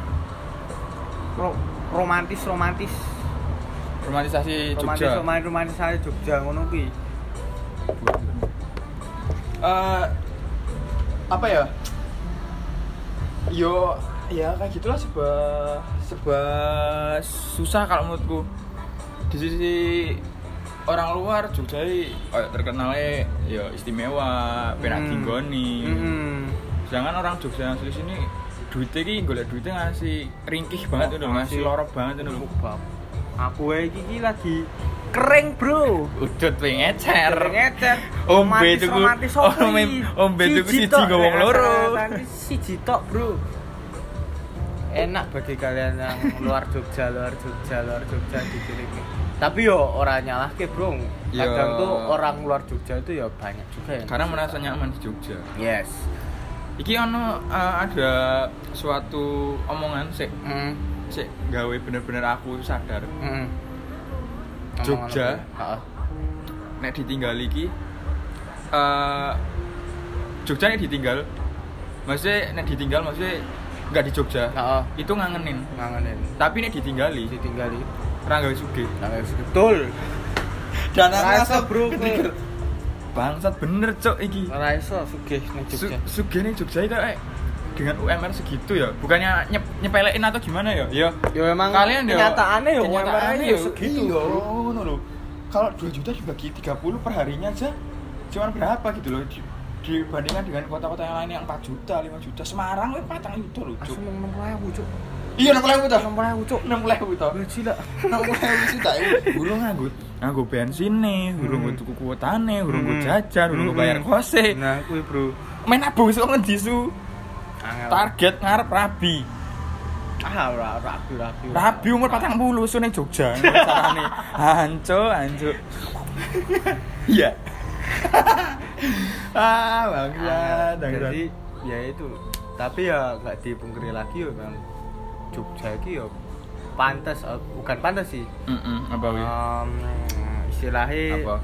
Speaker 2: romantis romantis
Speaker 1: romantisasi
Speaker 2: romantis
Speaker 1: Jogja
Speaker 2: romantis romantis saya Jogja ngono kuwi
Speaker 1: Eh, apa ya yo ya kayak gitulah sebuah sebuah susah kalau menurutku di sisi orang luar Jogja ini, eh, terkenalnya ya istimewa penak
Speaker 2: Hmm.
Speaker 1: dinggoni
Speaker 2: Mm-mm.
Speaker 1: sedangkan orang Jogja yang asli sini duitnya ini golek duitnya ngasih ringkih banget itu loh Oh, ngasih lorok banget itu loh
Speaker 2: Bab. aku wae iki iki lagi kering bro
Speaker 1: udut pengecer
Speaker 2: Ngecet.
Speaker 1: Ombe
Speaker 2: Romantis,
Speaker 1: tuku-
Speaker 2: romantis apa
Speaker 1: ombe-
Speaker 2: iki?
Speaker 1: ombe tuku siji
Speaker 2: tok,
Speaker 1: nggo wong
Speaker 2: nek
Speaker 1: loro.
Speaker 2: rata-rata iki siji tok, Bro. Enak bagi kalian yang luar Jogja, luar Jogja, luar Jogja gitu ini. Tapi yo ora nyalahke, Bro.
Speaker 1: Yo.
Speaker 2: Kadang tuh orang luar Jogja itu ya banyak juga ya.
Speaker 1: karena merasa nyaman di Jogja
Speaker 2: Yes.
Speaker 1: Iki ono eh, ada suatu omongan sih
Speaker 2: Mm.
Speaker 1: sik gawe bener-bener aku sadar
Speaker 2: Mm.
Speaker 1: Jogja.
Speaker 2: Ngomong-ngomong, ya? Heeh.
Speaker 1: nek ditinggal iki eh Jogja nek ditinggal maksudnya nek ditinggal maksudnya nggak di Jogja
Speaker 2: Heeh.
Speaker 1: itu ngangenin
Speaker 2: Ngangenin.
Speaker 1: tapi nek ditinggali
Speaker 2: Ditinggali.
Speaker 1: ra gawe sugih
Speaker 2: Nah, betul.
Speaker 1: dan
Speaker 2: aku rasa ketrigger.
Speaker 1: bangsat bener cok iki
Speaker 2: Ora iso sugih ning
Speaker 1: Su
Speaker 2: Jogja.
Speaker 1: sugih nih Jogja itu eh dengan UMR segitu ya bukannya nyep nyepelein atau gimana ya ya
Speaker 2: Yo emang
Speaker 1: kalian yo
Speaker 2: kenyataannya yo
Speaker 1: kenyataannya
Speaker 2: UMR-nya
Speaker 1: yo
Speaker 2: yo segitu,
Speaker 1: iya,
Speaker 2: Bro.
Speaker 1: ngono lho. kalau 2 juta dibagi 30 perharinya aja cuman berapa gitu loh di- dibandingkan dengan kota-kota yang lain yang 4 juta 5 juta Semarang weh patang itu loh cuk
Speaker 2: Asu mung mlebu, Cuk.
Speaker 1: iya 60.000 ta
Speaker 2: Nomor aku, Cuk. Iya,
Speaker 1: 60.000 ta
Speaker 2: Gaji lah.
Speaker 1: 60.000 juta
Speaker 2: iya.
Speaker 1: burung nganggo nganggo bensin nih burung
Speaker 2: Hmm.
Speaker 1: tuku kuotane burung
Speaker 2: Hmm.
Speaker 1: jajan burung
Speaker 2: Hmm.
Speaker 1: bayar kose
Speaker 2: Nah, kuwi, Bro.
Speaker 1: main abu sok ngendi su
Speaker 2: Angel.
Speaker 1: target ngarep rabi
Speaker 2: ah ora ora aku ora aku.
Speaker 1: rabi umur patang bulu su ning Jogja carane anco anco iya ah
Speaker 2: Angel.
Speaker 1: bangga
Speaker 2: Jadi ya itu. Tapi ya nggak dipungkiri lagi yo memang Jogja iki yo pantas eh, bukan pantas sih.
Speaker 1: apa
Speaker 2: Iya.
Speaker 1: wi
Speaker 2: Em, istilahnya
Speaker 1: apa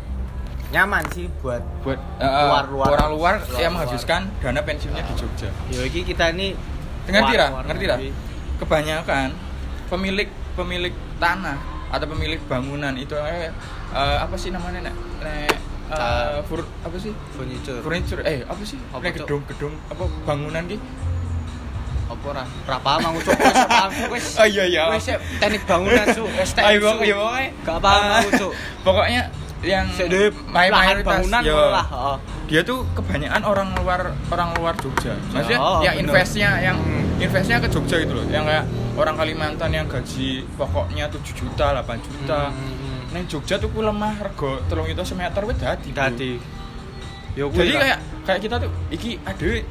Speaker 2: nyaman sih buat
Speaker 1: buat eh,
Speaker 2: Luar-luar.
Speaker 1: orang luar
Speaker 2: Luar-luar.
Speaker 1: yang menghabiskan dana pensiunnya di Jogja
Speaker 2: yo iki kita ini
Speaker 1: ngerti lah
Speaker 2: luar-luar
Speaker 1: ngerti lah
Speaker 2: negeri.
Speaker 1: kebanyakan pemilik pemilik tanah atau pemilik bangunan itu eh, eh, apa sih namanya nek nek eh,
Speaker 2: Ah.
Speaker 1: fur- apa sih
Speaker 2: furniture
Speaker 1: furniture eh apa sih nek
Speaker 2: Apa, Cok?
Speaker 1: gedung gedung apa bangunan ki
Speaker 2: apa ora ora paham aku cuk wis paham, Cuk, wis
Speaker 1: Oh, iya, iya.
Speaker 2: wis Cuk. teknik bangunan cuk wis
Speaker 1: Ayo,
Speaker 2: teknik, Cuk.
Speaker 1: iya, pokoknya.
Speaker 2: gak paham
Speaker 1: Ah,
Speaker 2: aku cuk
Speaker 1: pokoknya yang
Speaker 2: Sik, Dep.
Speaker 1: may-
Speaker 2: Lahan
Speaker 1: mayoritas,
Speaker 2: bangunan
Speaker 1: yo.
Speaker 2: ngono lah oh. heeh
Speaker 1: dia tuh kebanyakan orang luar orang luar Jogja maksudnya
Speaker 2: Oh,
Speaker 1: yang
Speaker 2: bener.
Speaker 1: investnya yang
Speaker 2: Hmm.
Speaker 1: investnya ke Jogja gitu loh yang kayak orang Kalimantan yang gaji pokoknya 7 juta 8 juta
Speaker 2: Hmm.
Speaker 1: Neng Jogja tuh ku lemah rego telung itu semeter wis dadi. Bu.
Speaker 2: dadi Hmm. yo kuwi
Speaker 1: Jadi
Speaker 2: lah.
Speaker 1: kayak kayak kita tuh iki adewe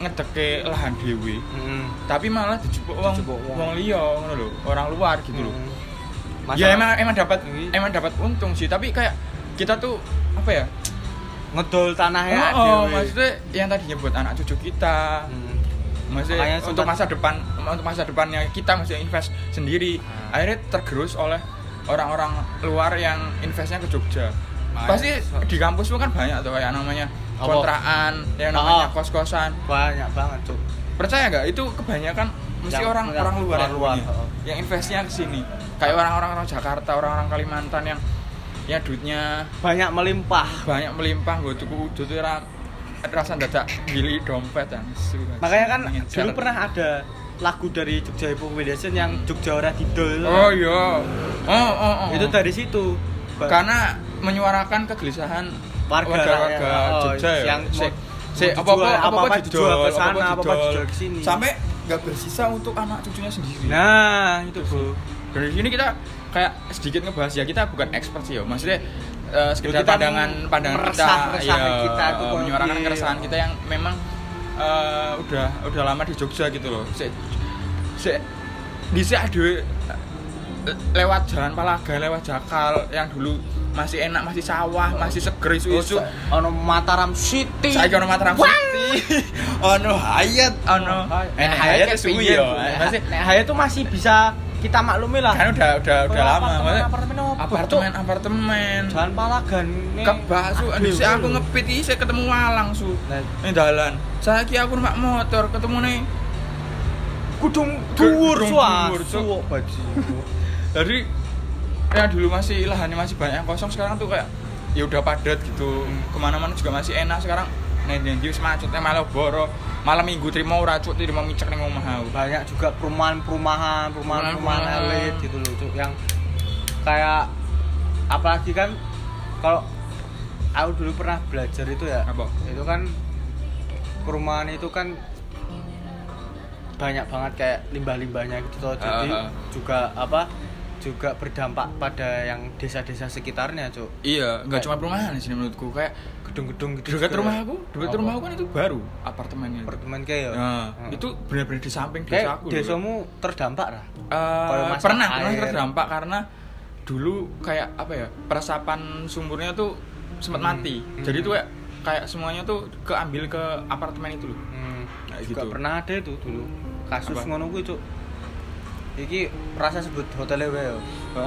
Speaker 1: ngedeke lahan dhewe,
Speaker 2: Mm.
Speaker 1: tapi malah dijupuk wong
Speaker 2: Dijupuk wong.
Speaker 1: wong liya ngono lho, orang luar gitu loh.
Speaker 2: Mm.
Speaker 1: Ya
Speaker 2: Masalah
Speaker 1: emang emang dapat
Speaker 2: Ini-
Speaker 1: emang dapat untung sih, tapi kayak kita tuh apa ya?
Speaker 2: ngedol
Speaker 1: oh,
Speaker 2: tanahnya
Speaker 1: oh,
Speaker 2: dhewe.
Speaker 1: maksudnya yang tadinya buat anak cucu kita,
Speaker 2: Mm. Makanya
Speaker 1: maksudnya
Speaker 2: sempat-
Speaker 1: untuk masa depan untuk masa depannya kita masih invest sendiri
Speaker 2: Ah.
Speaker 1: akhirnya tergerus oleh orang-orang luar yang investnya ke Jogja
Speaker 2: Makanya
Speaker 1: pasti
Speaker 2: se-
Speaker 1: di kampus pun kan banyak tuh kayak namanya
Speaker 2: Apa?
Speaker 1: kontrakan yang
Speaker 2: Ah.
Speaker 1: namanya kos kosan
Speaker 2: banyak banget tuh
Speaker 1: percaya nggak itu kebanyakan mesti
Speaker 2: Yang-
Speaker 1: orang
Speaker 2: yang
Speaker 1: orang luar
Speaker 2: orang
Speaker 1: yang
Speaker 2: luar,
Speaker 1: punya.
Speaker 2: heeh.
Speaker 1: yang investnya ke sini kayak orang-orang orang Jakarta orang-orang Kalimantan yang ya duitnya
Speaker 2: banyak melimpah
Speaker 1: banyak melimpah gue tuku udut itu ra- rasa dadak gili dompet dan
Speaker 2: makanya kan dulu pernah ada lagu dari Jogja Hip Hop Foundation yang Jogja Ora Didol
Speaker 1: oh iya oh oh, oh.
Speaker 2: itu dari situ Ba-
Speaker 1: karena menyuarakan kegelisahan
Speaker 2: Warga,
Speaker 1: warga-warga
Speaker 2: ya. Oh,
Speaker 1: Jogja ya.
Speaker 2: yang
Speaker 1: Si-
Speaker 2: mau-
Speaker 1: si
Speaker 2: mau
Speaker 1: apa-apa
Speaker 2: dijual,
Speaker 1: apa-apa
Speaker 2: apa-apa
Speaker 1: dijual,
Speaker 2: dijual ke
Speaker 1: apa-apa
Speaker 2: sana, apa-apa
Speaker 1: dijual.
Speaker 2: dijual ke sini.
Speaker 1: Sampai nggak bersisa untuk anak cucunya sendiri.
Speaker 2: nah itu bu
Speaker 1: dari sini kita kayak sedikit ngebahas ya kita bukan expert sih ya. Maksudnya eh, sekedar
Speaker 2: Loh, kita
Speaker 1: pandangan pandangan kita,
Speaker 2: meresah-resahan kita gitu, iya. tuh
Speaker 1: eh,
Speaker 2: kalau
Speaker 1: menyuarakan
Speaker 2: di-
Speaker 1: keresahan kita yang memang eh, udah udah lama di Jogja gitu loh. Se, se, di dhewe eh, lewat jalan Palaga, lewat Jakal yang dulu masih enak, masih sawah, masih seger
Speaker 2: Oh,
Speaker 1: isu-isu.
Speaker 2: ono Mataram City
Speaker 1: Saiki ono Mataram City. Eh, ono Hayat, ono
Speaker 2: Nek
Speaker 1: enak
Speaker 2: Hayat
Speaker 1: Hayat
Speaker 2: itu
Speaker 1: suwi ya. Masih
Speaker 2: Nek Hayat tuh masih bisa kita maklumi lah.
Speaker 1: kan udah udah udah
Speaker 2: Kalau
Speaker 1: lama.
Speaker 2: apartemen-
Speaker 1: Maksudnya-
Speaker 2: apartemen apa?
Speaker 1: apartemen apartemen
Speaker 2: Jalan Palagan ini.
Speaker 1: kebak su aduh sih aku ngepit iki saya ketemu walang su
Speaker 2: Nah,
Speaker 1: ini dalan saya aku numpak motor ketemu nih
Speaker 2: kudung
Speaker 1: Kudung
Speaker 2: dhuwur suah.
Speaker 1: dhuwur, Cuk.
Speaker 2: Suwuk bajimu.
Speaker 1: dari ya dulu masih lahannya masih banyak yang kosong sekarang tuh kayak ya udah padat gitu kemana-mana juga masih enak sekarang nendendi wis macetnya malah boro malam minggu terima ora cuk terima micek ning omah aku.
Speaker 2: Banyak juga perumahan-perumahan, perumahan-perumahan
Speaker 1: Perumahan-perumahan.
Speaker 2: elit gitu loh, Cuk, yang kayak apalagi kan kalau aku dulu pernah belajar itu ya.
Speaker 1: Apa?
Speaker 2: Itu kan perumahan itu kan banyak banget kayak limbah-limbahnya gitu toh. jadi
Speaker 1: Ah, ah.
Speaker 2: juga apa juga berdampak pada yang desa-desa sekitarnya cuk
Speaker 1: iya nggak cuma perumahan di sini menurutku kayak
Speaker 2: gedung-gedung gitu
Speaker 1: dekat
Speaker 2: juga.
Speaker 1: rumah aku dekat
Speaker 2: Apa?
Speaker 1: rumah aku kan itu baru apartemennya itu.
Speaker 2: apartemen kayak ya
Speaker 1: Nah,
Speaker 2: Heeh.
Speaker 1: itu benar-benar di samping
Speaker 2: kayak
Speaker 1: desa aku loh.
Speaker 2: desamu terdampak lah Kalau
Speaker 1: Eh
Speaker 2: masak
Speaker 1: pernah pernah
Speaker 2: air.
Speaker 1: terdampak karena dulu kayak apa ya peresapan sumurnya tuh sempat mati
Speaker 2: Hmm.
Speaker 1: jadi tuh kayak, kayak semuanya tuh keambil ke apartemen itu loh
Speaker 2: hmm,
Speaker 1: Kayak
Speaker 2: juga
Speaker 1: gitu.
Speaker 2: pernah ada itu dulu kasus
Speaker 1: Apa?
Speaker 2: ngono kuwi cuk iki rasa sebut hotel ya
Speaker 1: Heeh.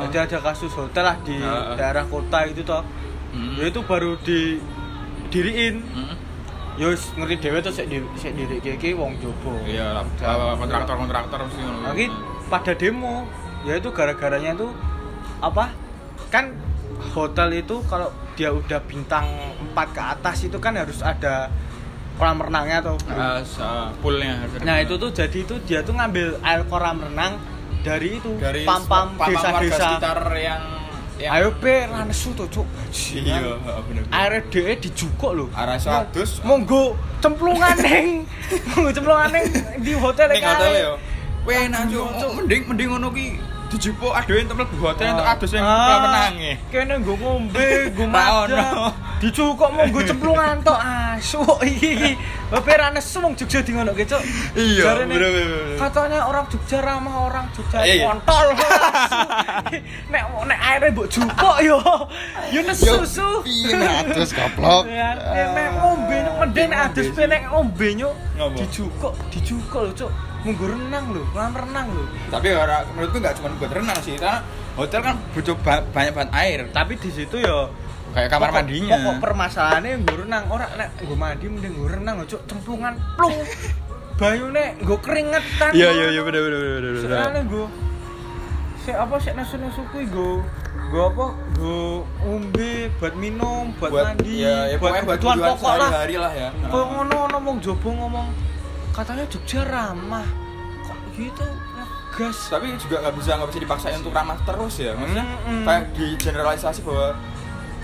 Speaker 2: jadi ada kasus hotel lah di
Speaker 1: Heeh.
Speaker 2: daerah kota itu toh
Speaker 1: Ah, Hmm.
Speaker 2: ya itu baru di diriin
Speaker 1: Mm.
Speaker 2: yo wis ngerti dhewe tuh sik di- sik diri iki wong jowo
Speaker 1: iya lah,
Speaker 2: Udah.
Speaker 1: kontraktor kontraktor mesti ngono
Speaker 2: lagi pada demo ya itu gara-garanya itu apa kan hotel itu kalau dia udah bintang 4 ke atas itu kan harus ada kolam renangnya atau
Speaker 1: Eh, se- poolnya harus ada
Speaker 2: nah
Speaker 1: poolnya.
Speaker 2: itu tuh jadi itu dia tuh ngambil air kolam renang dari itu
Speaker 1: dari
Speaker 2: pam-pam
Speaker 1: warga
Speaker 2: desa-desa
Speaker 1: sekitar yang yang
Speaker 2: ayo be lanesu tuh cuk
Speaker 1: iya bener
Speaker 2: air DE dijukuk lho
Speaker 1: arah 100
Speaker 2: monggo cemplungan neng monggo cemplungan neng di hotel
Speaker 1: Ning hotel
Speaker 2: kae.
Speaker 1: ya. Penak yo. Mending mending ngono ki dijupuk aduh entuk mlebu hotel entuk adus yang
Speaker 2: Ah,
Speaker 1: menangi.
Speaker 2: Kene nggo ngombe, nggo
Speaker 1: Ra ono.
Speaker 2: maja. Dicukuk mau nggo cemplungan tok asu iki iki. Bapak ra nesu wong Jogja di ngono ki, Cuk.
Speaker 1: Iya,
Speaker 2: Jarene,
Speaker 1: bener, bener, bener.
Speaker 2: Katanya orang Jogja ramah orang Jogja
Speaker 1: Iya, iya.
Speaker 2: kontol. asu. Nek nek aire mbok jupuk yo. Yo nesu su.
Speaker 1: Piye adus goblok. Iya,
Speaker 2: Ya, nek nek ngombe nek mending nek adus pe nek ngombe nyuk
Speaker 1: Ngapa?
Speaker 2: dicukuk, dicukuk lho, Cuk. Munggo renang lho, kolam renang lho.
Speaker 1: Tapi ora menurutku enggak cuma buat renang sih, karena hotel kan butuh ba- banyak banget air.
Speaker 2: Tapi di situ yo
Speaker 1: Kayak kamar
Speaker 2: Pokok-
Speaker 1: mandinya.
Speaker 2: Pokok permasalahannya gue renang ora nek gue mandi mending gue renang cuk cemplungan plung. Bayune gue keringetan.
Speaker 1: Iya iya iya bener bener bener bener,
Speaker 2: Soalnya
Speaker 1: bener.
Speaker 2: gue sik apa sik nasu-nasu kuwi gue gue apa gue umbe buat minum buat,
Speaker 1: Buat
Speaker 2: mandi
Speaker 1: ya, ya pokoknya buat kebutuhan
Speaker 2: pokok lah
Speaker 1: sehari-hari lah ya.
Speaker 2: kok ngono ngomong jobo ngomong katanya Jogja ramah kok gitu ngegas
Speaker 1: tapi juga nggak bisa nggak bisa dipaksain untuk ramah terus ya maksudnya
Speaker 2: Mm-mm.
Speaker 1: kayak di generalisasi bahwa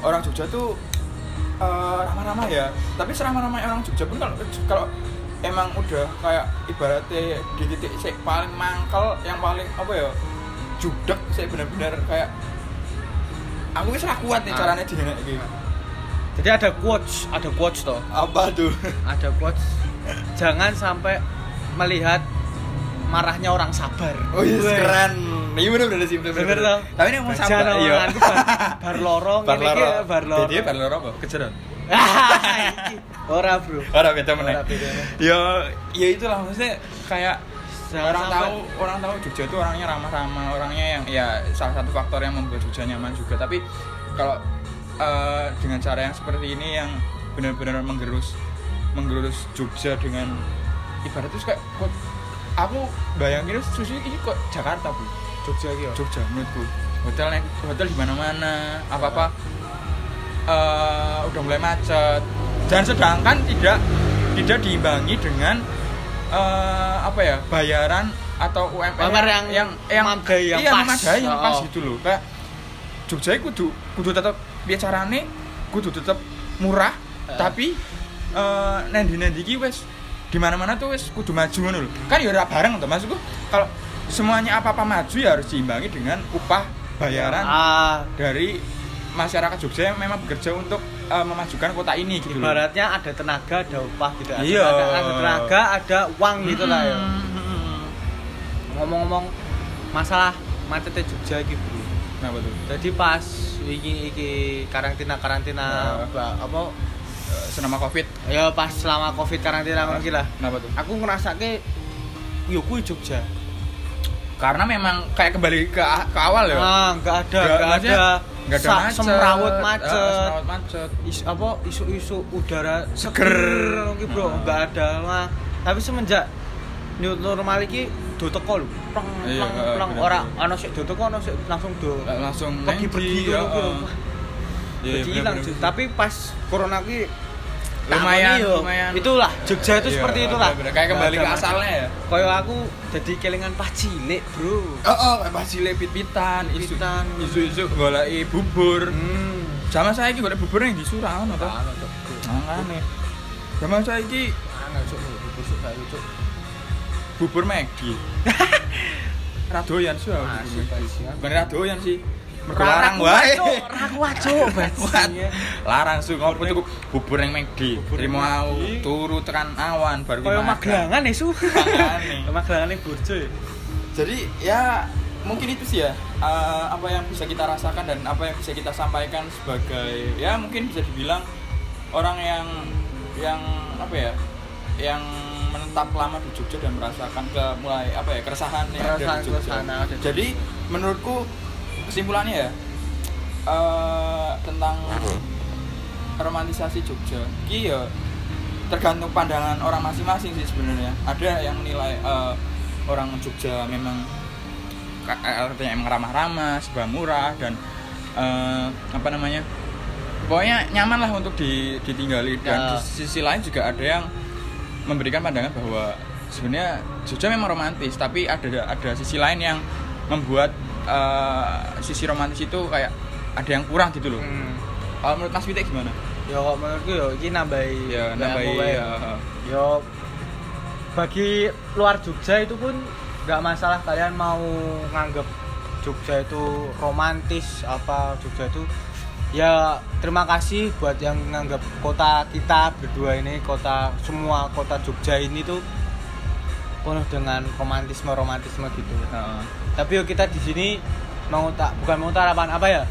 Speaker 1: orang Jogja tuh eh, ramah-ramah ya tapi seramah-ramah orang Jogja pun kalau kalau emang udah kayak ibaratnya di titik sik paling mangkel yang paling apa ya judek sih bener-bener kayak aku wis ra kuat nih
Speaker 2: Ah.
Speaker 1: caranya di gitu
Speaker 2: jadi ada quotes ada quotes toh
Speaker 1: apa tuh
Speaker 2: ada quotes jangan sampai melihat marahnya orang sabar
Speaker 1: oh iya
Speaker 2: Weh.
Speaker 1: keren iya bener-bener sih
Speaker 2: bener
Speaker 1: bener-bener
Speaker 2: toh
Speaker 1: tapi ini mau
Speaker 2: Bajan
Speaker 1: sabar iya
Speaker 2: omonganku, bar, bar lorong
Speaker 1: bar
Speaker 2: ini ki,
Speaker 1: loro
Speaker 2: ya, bar lorong
Speaker 1: jadi bar loro apa kejeran
Speaker 2: Hahaha, iki. ora bro
Speaker 1: Orang beda meneh.
Speaker 2: Ora beda meneh.
Speaker 1: Ya, ya itulah maksudnya kayak
Speaker 2: Jangan
Speaker 1: orang
Speaker 2: sampai-
Speaker 1: tahu orang tahu Jogja itu orangnya ramah-ramah, orangnya yang ya salah satu faktor yang membuat Jogja nyaman juga. Tapi kalau eh, dengan cara yang seperti ini yang benar-benar menggerus menggerus Jogja dengan ibarat itu kayak kok aku bayangin susu ini kok Jakarta bu
Speaker 2: Jogja
Speaker 3: Iya.
Speaker 2: iki yo.
Speaker 1: Jogja ya? menurutku hotelnya hotel di mana-mana apa-apa eh, udah mulai macet dan sedangkan tidak tidak diimbangi dengan eh, apa ya bayaran atau UMR
Speaker 3: Bayar yang memadai, yang
Speaker 1: iya,
Speaker 3: pas.
Speaker 1: memadai, yang pas
Speaker 3: Oh.
Speaker 1: gitu loh kayak Jogja itu kudu kudu tetap biar carane kudu tetap murah
Speaker 3: Eh.
Speaker 1: tapi eh nendi-nendi iki wes di mana-mana tuh wes kudu maju ngono lho. Kan ya ora bareng to maksudku. Kalau semuanya apa-apa maju ya harus diimbangi dengan upah bayaran
Speaker 2: Ah,
Speaker 1: dari masyarakat Jogja yang memang bekerja untuk eh, memajukan kota ini gitu loh.
Speaker 2: ibaratnya ada tenaga, ada upah gitu. Ada
Speaker 1: Iya.
Speaker 2: tenaga, ada tenaga, ada uang gitu lah ya.
Speaker 1: Mm, mm, mm.
Speaker 2: Ngomong-ngomong masalah macetnya Jogja iki, Bro.
Speaker 1: Kenapa tuh?
Speaker 2: Jadi pas iki iki karantina karantina
Speaker 1: Ah.
Speaker 2: Mbak, apa
Speaker 1: Eh, Senama Covid.
Speaker 2: ya pas selama Covid karantina ngono iki lah.
Speaker 1: Kenapa tuh?
Speaker 2: Aku ngerasake yo kuwi Jogja.
Speaker 1: Karena memang kayak kembali ke ke awal ya.
Speaker 2: Ah, enggak ada, enggak
Speaker 1: maksudnya,
Speaker 2: ada.
Speaker 1: nggak ada
Speaker 2: sa-
Speaker 1: macet.
Speaker 2: Semrawut
Speaker 1: Eh,
Speaker 2: macet.
Speaker 1: semrawut macet.
Speaker 2: Is- apa isu-isu udara
Speaker 1: Seger.
Speaker 2: seger iki, Bro,
Speaker 1: Ah.
Speaker 2: enggak ada lah. Tapi semenjak new normal iki do teko lho. Pleng
Speaker 1: Iya,
Speaker 2: pleng
Speaker 1: ah,
Speaker 2: pleng
Speaker 1: bener. Ah,
Speaker 2: ora ana sik do teko ana sik langsung do.
Speaker 1: Nggak langsung ngendi,
Speaker 2: Lagi pergi
Speaker 1: ya,
Speaker 2: ngono ki lho.
Speaker 1: eh.
Speaker 2: Wah,
Speaker 1: Iya, iya,
Speaker 2: jadi hilang,
Speaker 1: bener-bener.
Speaker 2: Ju. Tapi pas corona ki
Speaker 1: Lumayan,
Speaker 2: takoni yo.
Speaker 1: lumayan.
Speaker 2: Itulah Jogja itu
Speaker 1: Iya,
Speaker 2: seperti
Speaker 1: bener-bener.
Speaker 2: itulah.
Speaker 1: Kayak kembali
Speaker 2: Nggak
Speaker 1: ke
Speaker 2: ada
Speaker 1: asalnya ya.
Speaker 2: macet. Kayak aku jadi kelingan pas cilik, Bro.
Speaker 1: Oh, oh, pas cilik pit-pitan, isu-
Speaker 2: Pit-pitan.
Speaker 1: isu-isu goleki bubur.
Speaker 2: Hmm.
Speaker 1: Sama saya iki golek bubur yang di Surah ngono to.
Speaker 2: Ana, Cuk.
Speaker 1: Mangane. Sama saya iki
Speaker 2: Ana, Cuk. Busuk gak, Cuk.
Speaker 1: bubur Maggi. Radoyan sih. aku bubur
Speaker 2: Masih,
Speaker 1: Maggi.
Speaker 2: Pak.
Speaker 1: Bukan radoyan sih. Mergo
Speaker 2: Ra-
Speaker 1: larang
Speaker 2: ra kuat,
Speaker 1: wae.
Speaker 2: Cuk. Ra kuat, Cuk.
Speaker 1: Kuat.
Speaker 2: Bajingan.
Speaker 1: Larang su ngopo tuku bubur yang Maggi.
Speaker 2: Bubur yang
Speaker 1: Terima mau
Speaker 2: Maggi.
Speaker 1: turu tekan awan baru
Speaker 2: Kaya
Speaker 1: dimakan.
Speaker 2: magelangan ya, Su.
Speaker 1: Makane.
Speaker 2: Magelangan yang burjo ya.
Speaker 1: Jadi ya mungkin itu sih ya eh, apa yang bisa kita rasakan dan apa yang bisa kita sampaikan sebagai ya mungkin bisa dibilang orang yang yang apa ya yang menetap lama di Jogja dan merasakan ke mulai apa ya keresahan yang ada
Speaker 2: Keresahan-
Speaker 1: di Jogja.
Speaker 2: keresahan yang ada di
Speaker 1: Jadi menurutku kesimpulannya ya eh, tentang romantisasi Jogja. Iya tergantung pandangan orang masing-masing sih sebenarnya. Ada yang nilai eh, orang Jogja memang ka- eh, artinya emang ramah-ramah, serba murah dan eh, apa namanya? Pokoknya nyaman lah untuk di- ditinggali dan
Speaker 2: Ya.
Speaker 1: di sisi lain juga ada yang memberikan pandangan bahwa sebenarnya Jogja memang romantis tapi ada ada sisi lain yang membuat eh, sisi romantis itu kayak ada yang kurang gitu
Speaker 2: Hmm.
Speaker 1: loh. Kalau menurut Mas Witek gimana?
Speaker 2: Ya kok menurutku ya iki nambahi
Speaker 1: Ya,
Speaker 2: nambahi
Speaker 1: nambahi
Speaker 2: wae.
Speaker 1: ya.
Speaker 2: Ya bagi luar Jogja itu pun nggak masalah kalian mau nganggep Jogja itu romantis apa Jogja itu ya terima kasih buat yang nganggep kota kita berdua ini kota semua kota Jogja ini tuh penuh dengan romantisme romantisme gitu.
Speaker 1: Heeh.
Speaker 2: tapi yo kita di sini mau tak bukan mau tarapan apa ya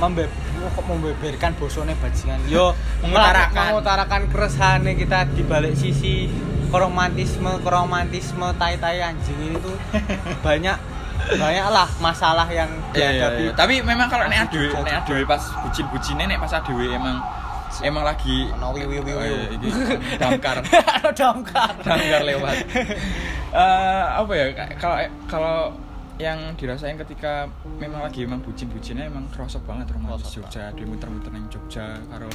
Speaker 2: membe oh, kok membeberkan bosone bajingan yo
Speaker 1: Mengutarakan.
Speaker 2: melak- mengutarakan keresahan kita di balik sisi romantisme romantisme tai tai anjing ini tuh banyak banyak lah masalah yang
Speaker 1: Iya, iya,
Speaker 2: dihadapi
Speaker 1: iya. Tapi memang kalau nek adewe,
Speaker 2: Jogja,
Speaker 1: nek adewe pas bucin-bucine nek pas adewe emang emang lagi
Speaker 2: Ono wiu, wiu, wiu,
Speaker 1: Oh,
Speaker 2: wiu.
Speaker 1: iya, iki, damkar.
Speaker 2: Ada damkar
Speaker 1: Damkar lewat. Eh, apa ya ka- kalau kalau yang dirasain ketika memang lagi emang bucin-bucinnya emang kerosok banget romantis
Speaker 2: Kerosok
Speaker 1: Jogja, adewe muter-muter nang Jogja karo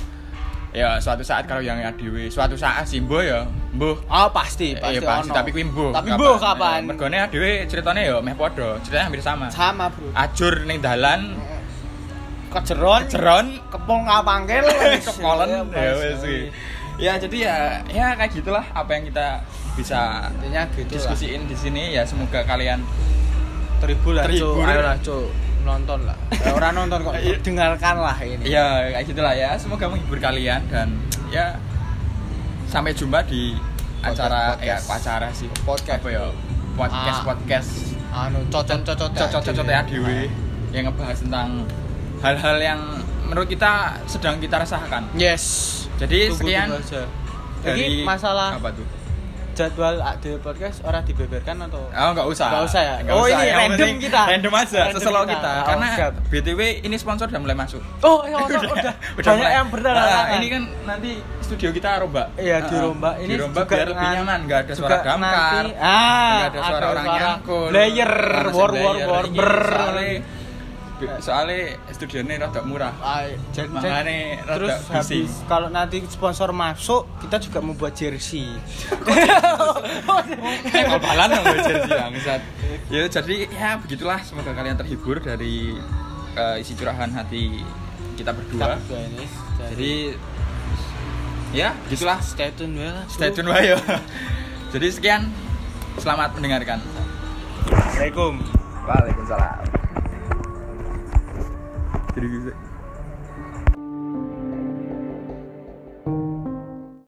Speaker 1: ya suatu saat kalau yang adewe suatu saat sih mbok ya, mbok
Speaker 2: oh
Speaker 1: Eh,
Speaker 2: pasti
Speaker 1: iya,
Speaker 2: pasti,
Speaker 1: pasti
Speaker 2: ono.
Speaker 1: tapi kuwi mbuh.
Speaker 2: tapi mbuh kapan Iya,
Speaker 1: Ya, Mergone dhewe ceritane ya meh padha, ceritanya hampir sama.
Speaker 2: sama bro
Speaker 1: Ajur ning dalan,
Speaker 2: kejeron
Speaker 1: jeron,
Speaker 2: kepol nggak panggil
Speaker 1: kekolen
Speaker 2: Iya,
Speaker 1: ya
Speaker 2: Mas.
Speaker 1: wis kuwi. Ya jadi ya ya kayak gitulah apa yang kita bisa
Speaker 2: intinya gitu lah.
Speaker 1: diskusiin di sini ya semoga kalian
Speaker 2: terhibur lah
Speaker 1: Terhibur,
Speaker 2: Cuk.
Speaker 1: ya.
Speaker 2: ayolah Cuk. nonton lah Eh, orang nonton kok
Speaker 1: Iya.
Speaker 2: dengarkan lah ini
Speaker 1: ya kayak gitulah ya semoga menghibur kalian dan ya sampai jumpa di
Speaker 2: Podcast-
Speaker 1: acara ya
Speaker 2: podcast.
Speaker 1: acara sih
Speaker 2: Podcast.
Speaker 1: apa ya podcast
Speaker 2: Ah.
Speaker 1: podcast
Speaker 2: anu cocot cocot
Speaker 1: cocok-cocok ya dewe yang ngebahas tentang hal-hal yang menurut kita sedang kita rasakan.
Speaker 2: yes
Speaker 1: Jadi
Speaker 2: Tunggu,
Speaker 1: sekian
Speaker 2: tunggu aja.
Speaker 1: dari
Speaker 2: Ini masalah
Speaker 1: apa tuh?
Speaker 2: jadwal ah, di podcast orang dibeberkan atau
Speaker 1: Oh, enggak usah.
Speaker 2: Nggak usah ya?
Speaker 1: Nggak
Speaker 2: Oh, ini
Speaker 1: Yang
Speaker 2: random
Speaker 1: penting
Speaker 2: kita.
Speaker 1: Random aja,
Speaker 2: Random
Speaker 1: seselok
Speaker 2: kita.
Speaker 1: kita.
Speaker 2: Oh,
Speaker 1: Karena
Speaker 2: siap.
Speaker 1: BTW ini sponsor udah mulai masuk.
Speaker 2: Oh, ya, udah, udah, banyak
Speaker 1: mulai.
Speaker 2: yang
Speaker 1: Nah,
Speaker 2: berdatangan.
Speaker 1: ini kan nanti studio kita rombak.
Speaker 2: Iya,
Speaker 1: Heeh.
Speaker 2: dirombak. Ini
Speaker 1: dirombak
Speaker 2: juga
Speaker 1: biar lebih
Speaker 2: ngan-
Speaker 1: nyaman, enggak ada
Speaker 2: juga
Speaker 1: suara damkar.
Speaker 2: nanti- ah,
Speaker 1: nggak ada suara orang nyangkul.
Speaker 2: Player,
Speaker 1: Langsung
Speaker 2: war, war,
Speaker 1: player. Iya,
Speaker 2: war, ber.
Speaker 1: Soalnya soalnya studionya rada murah.
Speaker 2: Ah, jen- jen.
Speaker 1: Makanya rada
Speaker 2: terus
Speaker 1: bising.
Speaker 2: habis kalau nanti sponsor masuk kita juga membuat jersey
Speaker 1: Eh, bal-balan dong gue jadi bangsat. Ya jadi ya begitulah semoga kalian terhibur dari eh, isi curahan hati kita
Speaker 2: Kita
Speaker 1: berdua.
Speaker 2: berdua ini
Speaker 1: Jadi ya gitulah
Speaker 2: stay tune ya lah,
Speaker 1: stay
Speaker 2: bro.
Speaker 1: tune wae yo. Jadi sekian selamat mendengarkan.
Speaker 2: Assalamualaikum
Speaker 1: Waalaikumsalam. Jadi gitu.